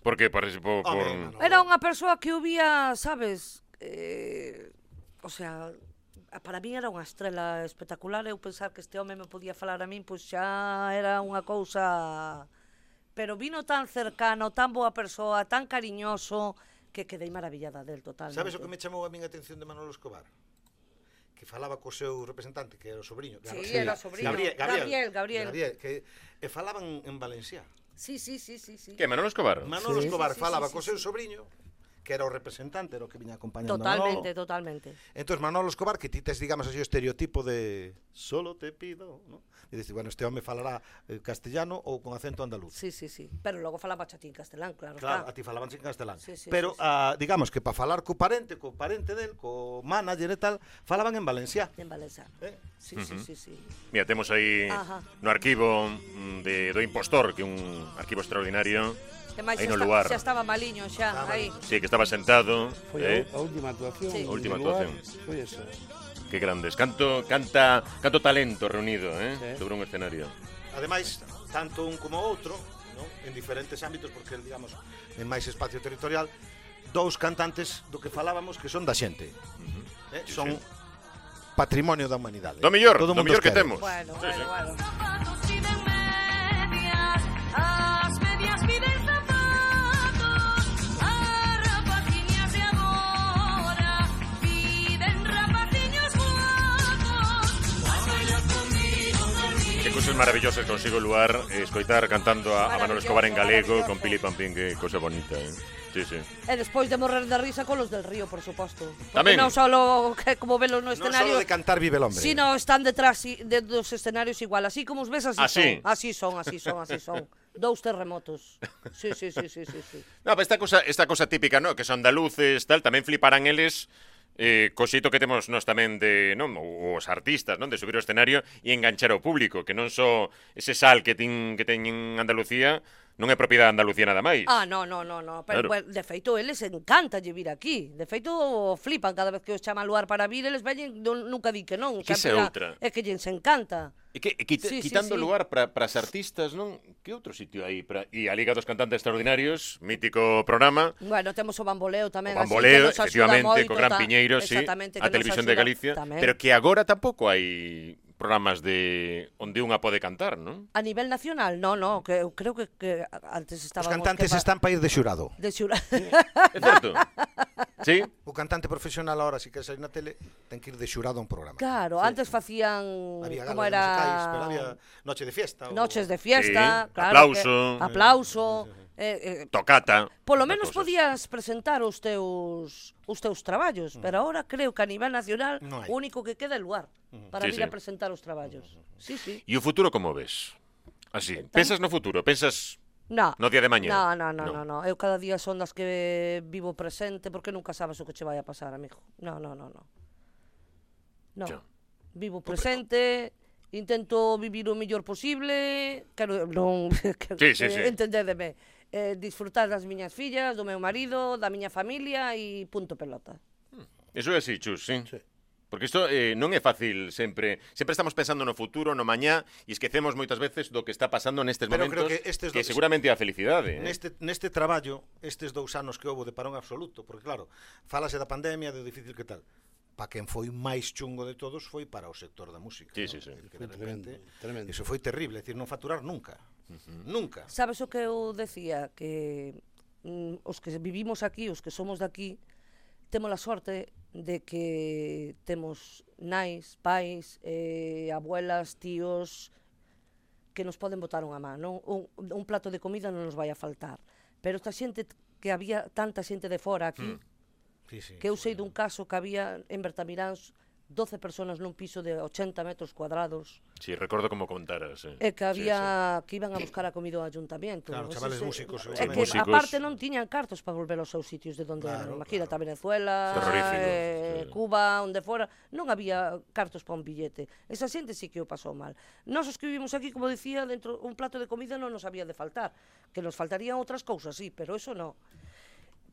A: Por que participou por...
B: Home, Manolo.
D: Era unha persoa que eu vía, sabes, eh, o sea, a- para min era unha estrela espectacular, eu pensar que este home me podía falar a min, pois xa era unha cousa... Pero vino tan cercano, tan boa persoa, tan cariñoso, que quedei maravillada del totalmente.
B: Sabes o que me chamou a min a atención de Manolo Escobar? Que falaba co seu representante, que era o sobrinho.
D: Sí, era o sobrinho. Gabriel, Gabriel.
B: Gabriel, que e falaban en valenciano.
D: Sí, sí, sí, sí, sí.
A: Que Manolo Escobar.
B: Manolo
D: Sí.
B: Escobar
D: Sí, sí,
B: falaba
D: sí,
B: co seu
D: sí, sí.
B: sobrinho, que era o representante, era o que viña acompañando a
D: Totalmente,
B: Manolo.
D: totalmente.
B: Entón, Manolo Escobar, que ti tes, digamos así, o estereotipo de solo te pido, ¿no? E dices, bueno, este home falará eh, castellano ou con acento andaluz.
D: Sí, sí, sí. Pero logo falaba chatín castelán, claro.
B: Claro,
D: está.
B: a ti falaban en castelán.
D: Sí, sí,
B: Pero,
D: sí, sí.
B: ah, digamos que para falar co parente, co parente del, co manager e tal, falaban en Valencia.
D: En valenciano.
B: Eh?
D: Sí, sí, sí, sí.
A: Mira, temos aí
D: Ajá.
A: no arquivo mm, de do impostor, que é un arquivo extraordinario.
D: E máis
A: Aí
D: xa,
A: no
D: esta-
A: lugar.
D: xa estaba maliño xa, aí.
A: Sí, que estaba sentado,
E: Foi
A: eh?
E: a, a última actuación.
D: Sí.
A: A
E: en
A: última
E: lugar,
A: actuación.
E: Foi esa.
A: Que grandes, canto canta, canto talento reunido, eh,
E: Sí.
A: sobre un escenario.
B: Ademais, tanto un como outro, non? en diferentes ámbitos, porque, el, digamos, en máis espacio territorial, dous cantantes do que falábamos que son da xente. Eh?
A: Sí,
B: Son
A: sí.
B: patrimonio da humanidade.
A: Do mellor, do
B: Todo mundo
A: mellor
B: os
A: que
B: quere.
A: temos.
D: Bueno,
A: Sí,
D: bueno,
A: sí.
D: bueno.
F: Zapatos piden medias, las medias piden zapatos, a rapaciñas de ahora piden rapaciños guapos. Vámonos conmigo, conmigo.
A: Que cousas maravillosas consigo o lugar eh, escoitar cantando a, a Manolo Escobar en galego
D: Maravilloso,
A: con Pili Pampín, que cousa bonita, eh. Sí, sí.
D: E despois de morrer de risa con los del río, por suposto.
A: Tamén.
D: Porque non solo que como velo
B: Non
D: no
B: solo
D: escenario,
B: de cantar vive el hombre.
D: sino están detrás i- de dos escenarios igual, así como os ves así,
A: Así.
D: son, así son, así son, así son. Dous terremotos. Sí, sí, sí, sí, sí, sí.
A: No, pero esta cosa, esta cosa típica, ¿no? Que son andaluces, tal, tamén fliparán eles eh, cosito que temos nós tamén de, non, O- os artistas, non, de subir o escenario e enganchar ao público, que non só ese sal que tin que teñen Andalucía, non é propiedade de Andalucía nada máis.
D: Ah, no, no, no, no.
A: Claro.
D: Pero, bueno, de feito, eles encanta lle vir aquí. De feito, flipan cada vez que os chama lugar para vir, eles veñen, non, nunca di que non.
A: Que esa é
D: sempre a-
A: outra.
D: É que lles encanta.
A: E que, e quita,
D: Sí, sí,
A: quitando
D: sí.
A: lugar para as artistas, non? Que outro sitio hai? Pra... E a Liga dos Cantantes Extraordinarios, mítico programa,
D: Bueno, temos o Bamboleo
A: o
D: tamén,
A: Bamboleo,
D: así que nos axuda
A: efectivamente,
D: moito,
A: co Gran
D: ta-
A: Piñeiro, sí,
D: exactamente, que
A: a
D: nos
A: Televisión de
D: axuda
A: Galicia,
D: tamén.
A: pero que agora tampouco hai programas de onde unha pode cantar, non?
D: A nivel nacional, no, no, que eu creo que, que antes
B: Os
D: estábamos...
B: cantantes
D: que va-
B: están para ir de xurado.
D: De xura...
B: [laughs]
A: É
D: [laughs]
A: certo? sí?
B: O cantante profesional ahora, si quer sair na tele, ten que ir de xurado a un programa.
D: Claro, antes facían...
B: Había
D: como
B: galas
D: era...
B: musicais, pero había noche de fiesta. o-
D: Noches de
A: Sí,
D: fiesta, claro
A: aplauso.
D: que- aplauso, eh, eh,
A: Tocata.
D: Polo
A: Unha
D: menos
A: cousa.
D: podías presentar os teus os teus traballos,
B: Mm.
D: pero ahora creo que a nivel nacional
B: Non hai.
D: o único que queda é lugar
B: Mm.
D: para
A: Sí,
D: vir
A: sí.
D: a presentar os traballos. Sí, sí.
A: E o futuro como ves? Así, pensas no futuro, pensas...
D: No.
A: No día de mañá.
D: No, no, no,
A: No.
D: no, no. Eu cada día son das que vivo presente porque nunca sabes o que che vai a pasar, amigo. No, no, no, no. No.
A: Ya.
D: Vivo presente, intento vivir o mellor posible, quero non [laughs] que,
A: Sí, sí, sí.
D: entendédeme. Eh, disfrutar das miñas fillas, do meu marido, da miña familia e punto pelota.
A: Eso é así, Chus, sí. sí. Porque isto eh, non é fácil sempre. Sempre estamos pensando no futuro, no mañá, e esquecemos moitas veces do que está pasando nestes
B: Pero
A: momentos,
B: creo que estes
A: que
B: do-
A: seguramente é a felicidade. eh.
B: Neste, neste traballo, estes dous anos que houbo de parón absoluto, porque claro, falase da pandemia, de difícil que tal. Pa quen foi máis chungo de todos foi para o sector da música.
A: Sí,
B: non?
A: sí, sí.
B: Que de
E: Foi tremendo,
B: repente,
E: tremendo.
B: Eso foi terrible, é dicir, non facturar nunca. Nunca.
D: Sabes o que eu decía? Que mm, os que vivimos aquí, os que somos de aquí, temos a sorte de que temos nais, pais, eh, abuelas, tíos, que nos poden botar unha man, non? Un, un plato de comida non nos vai a faltar. Pero esta xente que había tanta xente de fora aquí, mm.
B: Sí, sí.
D: que eu sei dun caso que había en Bertamiráns 12 personas nun piso de 80 metros cuadrados
A: Sí, recordo como contaras. Eh.
D: E que había que iban a buscar a comida ao ayuntamiento.
B: Claro,
D: Ese-
B: chavales músicos, seguramente.
D: É que
A: Músicos.
D: aparte non tiñan cartos para volver aos seus sitios de donde
B: Claro,
D: eran. Imagínate a Venezuela,
A: Terrorífico,
D: eh,
A: sí.
D: Cuba, onde fora, non había cartos para un billete. Esa xente sí que o pasou mal. Nós os que vivimos aquí, como dicía, dentro un plato de comida non nos había de faltar, que nos faltarían outras cousas, sí, pero eso non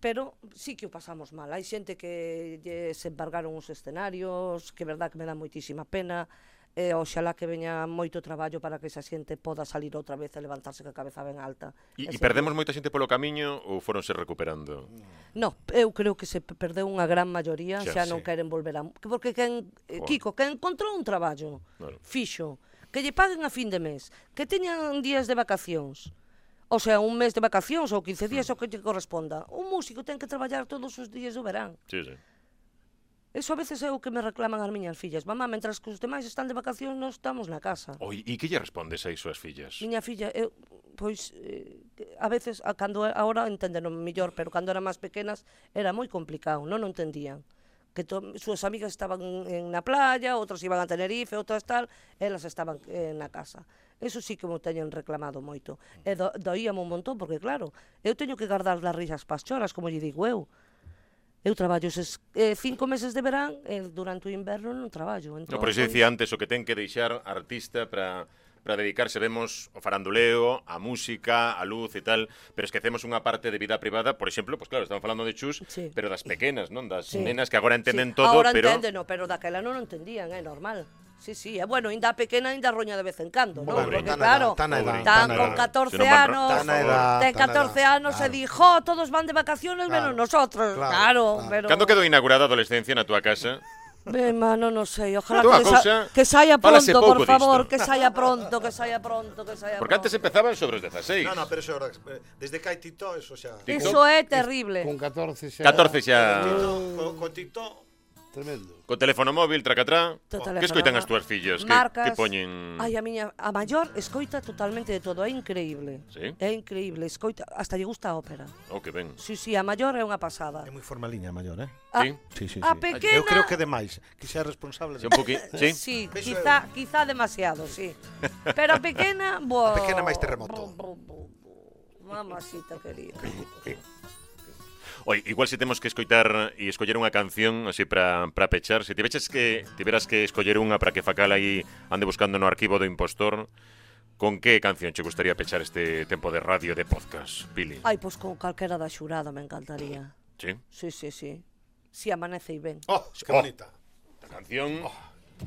D: pero sí que o pasamos mal. Hai xente que lle se embargaron os escenarios, que é verdad que me dá moitísima pena, e oxalá que veña moito traballo para que esa xente poda salir outra vez e levantarse ca cabeza ben alta.
A: E, e
D: Ese-
A: perdemos moita xente polo camiño ou foronse recuperando?
D: No, eu creo que se pe- perdeu unha gran maioría,
A: Xa,
D: xa, non queren volver a... que Porque quen, eh,
A: Joa.
D: Kiko, que encontrou un traballo
A: Claro.
D: fixo, que lle paguen a fin de mes, que teñan días de vacacións, o sea, un mes de vacacións ou 15 días, o que lle corresponda. Un músico ten que traballar todos os días do verán.
A: Sí, sí.
D: Eso a veces é o que me reclaman as miñas fillas. Mamá, mentras que os demais están de vacacións, nós estamos na casa.
A: Oi, e que lle respondes a iso as fillas?
D: Miña filla, eu pois eh, a veces a cando agora entenderon mellor, pero cando eran máis pequenas era moi complicado, non o entendían. Que to, súas amigas estaban en na playa, outras iban a Tenerife, outras tal, elas estaban eh, na casa. Eso sí que me teñen reclamado moito. E do, doíame un montón, porque claro, eu teño que guardar as risas pas choras, como lle digo eu. Eu traballo ses, eh, cinco meses de verán e durante o inverno non traballo. Entón,
A: No, por iso
D: pois-
A: dicía antes o que ten que deixar a artista para para dedicarse vemos o faranduleo, a música, a luz e tal, pero esquecemos unha parte de vida privada, por exemplo, pues claro, estamos falando de chus,
D: Sí.
A: pero das pequenas, non das
D: Sí.
A: nenas que agora entenden
D: Sí,
A: todo,
D: Ahora
A: pero
D: entendeno, pero daquela non o entendían, é normal. Sí, sí, é bueno, ainda pequena, ainda roña de vez en cando, non?
A: Pobre,
B: tan
D: Porque
B: edad,
D: claro,
B: tan edad,
D: tan
B: tan
D: con
B: edad.
D: 14
A: Se non van ro-
D: anos,
A: Tan
B: edad,
D: ten
B: tan
D: 14
B: edad,
D: anos e
B: claro.
D: di, jo, todos van de vacaciones menos
B: Claro,
D: nosotros. Claro,
B: claro, claro.
D: pero...
A: Cando quedou inaugurada a adolescencia na túa casa?
D: Ben, mano, non sei, ojalá
A: Toda
D: que, sa...
A: cousa,
D: que saia
A: fálase
D: pronto, por
A: pouco
D: favor,
A: disto.
D: que saia pronto, que saia pronto, que saia
A: Porque
D: pronto.
A: antes empezaban sobre os 16.
B: No, no, pero eso ahora, desde que hai TikTok, eso xa...
A: Tic-
D: Iso é terrible.
E: Con 14 xa.
A: 14 xa
B: Con, con TikTok...
E: Tremendo.
A: co teléfono móvil, tracatrá.
D: Te
A: Que escoitan
D: telefonaba.
A: as túas fillas? Que,
D: Marcas.
A: que poñen...
D: Ai, a miña a maior escoita totalmente de todo, é increíble.
A: Sí?
D: É increíble, escoita, hasta lle gusta a ópera.
A: Oh, que ben.
D: Sí, sí, a maior é unha pasada. Ah,
B: É moi formaliña a maior, eh?
D: A,
A: Sí.
B: Sí, sí, sí.
D: a pequena
B: Eu creo que demais, que sea responsable
A: Sí,
B: de...
A: un
D: [laughs]
A: poquín, sí?
D: Sí,
B: Eso
D: quizá, quizá demasiado, sí. Pero a pequena,
B: [laughs]
D: bo...
B: A pequena máis terremoto.
D: bo- bo- bo- Mamacita querida.
A: Oi, igual se temos que escoitar e escoller unha canción así para para pechar, se tiveches que tiveras que escoller unha para que Facal aí ande buscando no arquivo do impostor, con que canción che gustaría pechar este tempo de radio de podcast, Pili?
D: Ai, pois con calquera da xurada me encantaría.
A: Sí.
D: Sí, sí, sí. Si amanece e ven.
B: Oh, que
A: Oh.
B: bonita.
A: A canción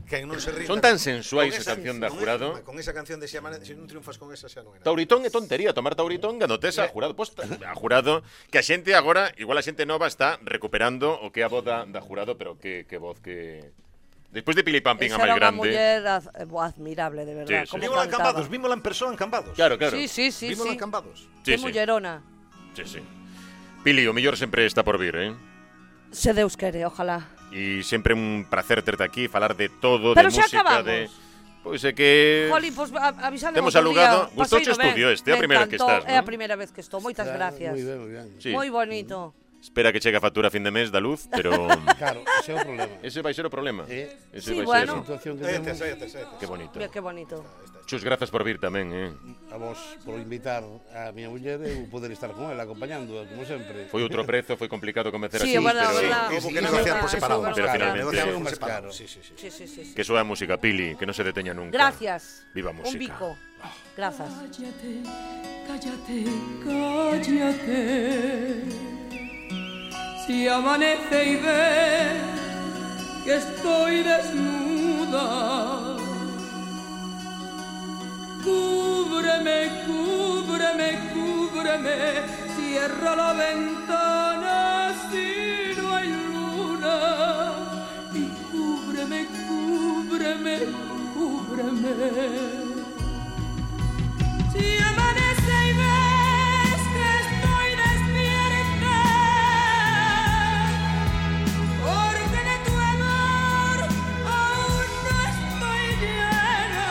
B: Que non se rinda.
A: Oh, Son tan sensuais a
B: Con
A: canción da
B: con
A: Jurado.
B: esa- Con esa canción de Se amanece, se non triunfas con esa xa non é nada.
A: Tauritón é tontería, tomar Tauritón ganotesa a jurado. Pois ta- a jurado que a xente agora, igual a xente nova está recuperando o que é a voz da, da jurado, pero que, que voz que... Despois de Pili Pampín a
D: Esa
A: máis
D: era unha
A: grande.
D: muller az- eh, bo, admirable, de verdad.
A: Sí, sí.
D: como
B: Vímola en
D: cantaba.
B: Cambados, vímola en persoa en Cambados.
A: Claro, claro.
D: Sí, sí, sí,
B: vímola
D: sí.
B: en Cambados.
A: Sí,
D: Que
A: sí.
D: mullerona.
A: Sí, sí. Pili, o mellor sempre está por vir, eh?
D: Se Deus quere, ojalá.
A: E sempre un placer terte aquí, falar de todo,
D: Pero
A: de
D: xa
A: música,
D: acabamos.
A: de... Pois é que...
D: Jolín, pois a- avisade
A: Temos
D: outro día.
A: alugado. Gustouche o
D: Paseino ben.
A: estudio este, a
D: Me
A: primeira que
D: encantó,
A: estás,
D: É a
A: non?
D: primeira vez que estou. Moitas
E: Claro,
D: gracias.
E: Moi ben, moi ben.
A: Sí.
D: Moi bonito.
A: Espera que chegue a factura a fin de mes da luz, pero...
D: [laughs]
E: Claro, ese é o problema.
A: Ese vai ser o problema.
E: Eh,
A: Ese
D: Sí,
A: vai
D: bueno.
A: ser...
E: situación que
B: Sáete,
E: temos
B: sáete, sáete.
A: Que bonito.
D: Mira que bonito.
A: Chus, grazas por vir tamén, eh?
E: a vos por invitar a miña muller e eu poder estar con ela acompañándoa como sempre.
A: Foi outro prezo, foi complicado convencer a
D: Sí, é
A: Chus,
D: verdad,
A: pero...
D: é verdad.
B: Hubo que
D: Sí,
B: negociar por
D: sí,
B: separado.
A: Pero
D: sí, sí,
A: finalmente-
B: Negociar por
E: Más
B: separado.
E: caro.
B: Sí, sí, sí.
D: Sí, sí, sí, sí.
A: Que suba música, Pili, que no se deteña nunca.
D: Gracias.
A: Viva música.
D: Un bico. Gracias.
G: Cállate, cállate, cállate. Si amanece y ve que estoy desnuda, cúbreme, cúbreme, cúbreme. Cierra la ventana si no hay luna y cúbreme, cúbreme, cúbreme. Si amanece y ves que estoy despierta, porque de tu amor aún no estoy llena.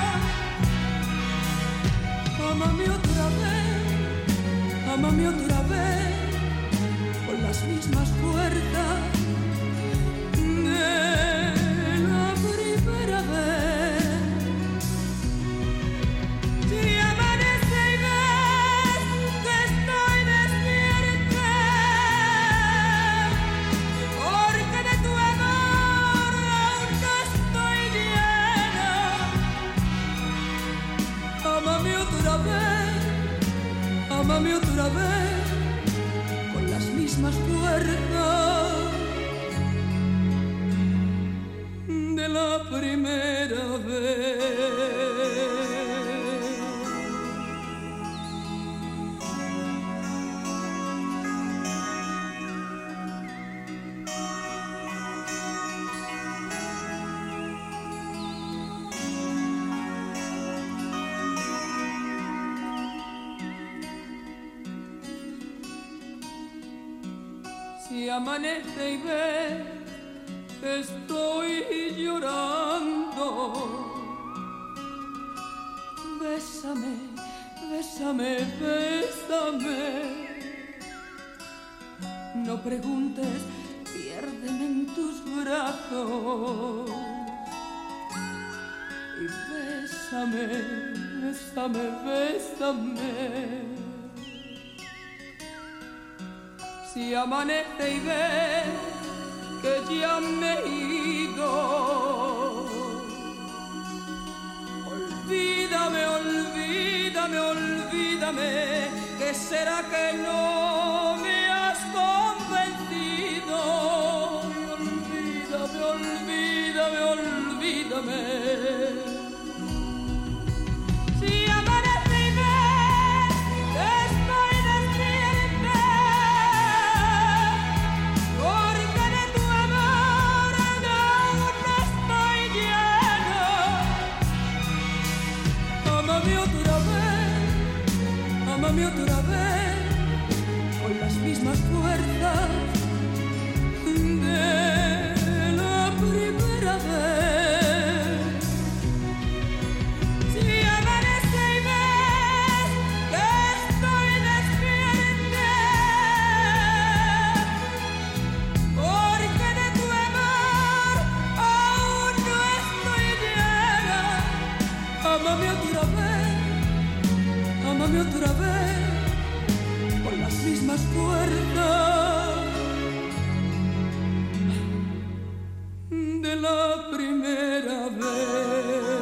G: Amame otra vez, amame otra vez, con las mismas fuerzas de la primera vez. Si amanece y ves que estoy despierta, porque de tu amor aún no estoy llena. Amame otra vez, amame otra vez, con las mismas fuerzas de la primera vez. Si amanece y ves estoy llorando. Bésame, bésame. Bésame, bésame. No preguntes, piérdeme en tus brazos. Y bésame, bésame, bésame. Si amanece y ve que ya me he ido, olvídame, olvídame, olvídame, que será que no me has convencido. Olvídame, olvídame, olvídame. Si amanece y ves que estoy despierta, porque de tu amor aún no estoy lleno. Amame otra vez, amame otra vez, con las mismas fuerzas de la primera vez. Si amanece y ves que estoy despierta, porque de tu amor aún no estoy llena. Amame otra vez, amame otra vez, con las mismas cuerdas de la primera vez.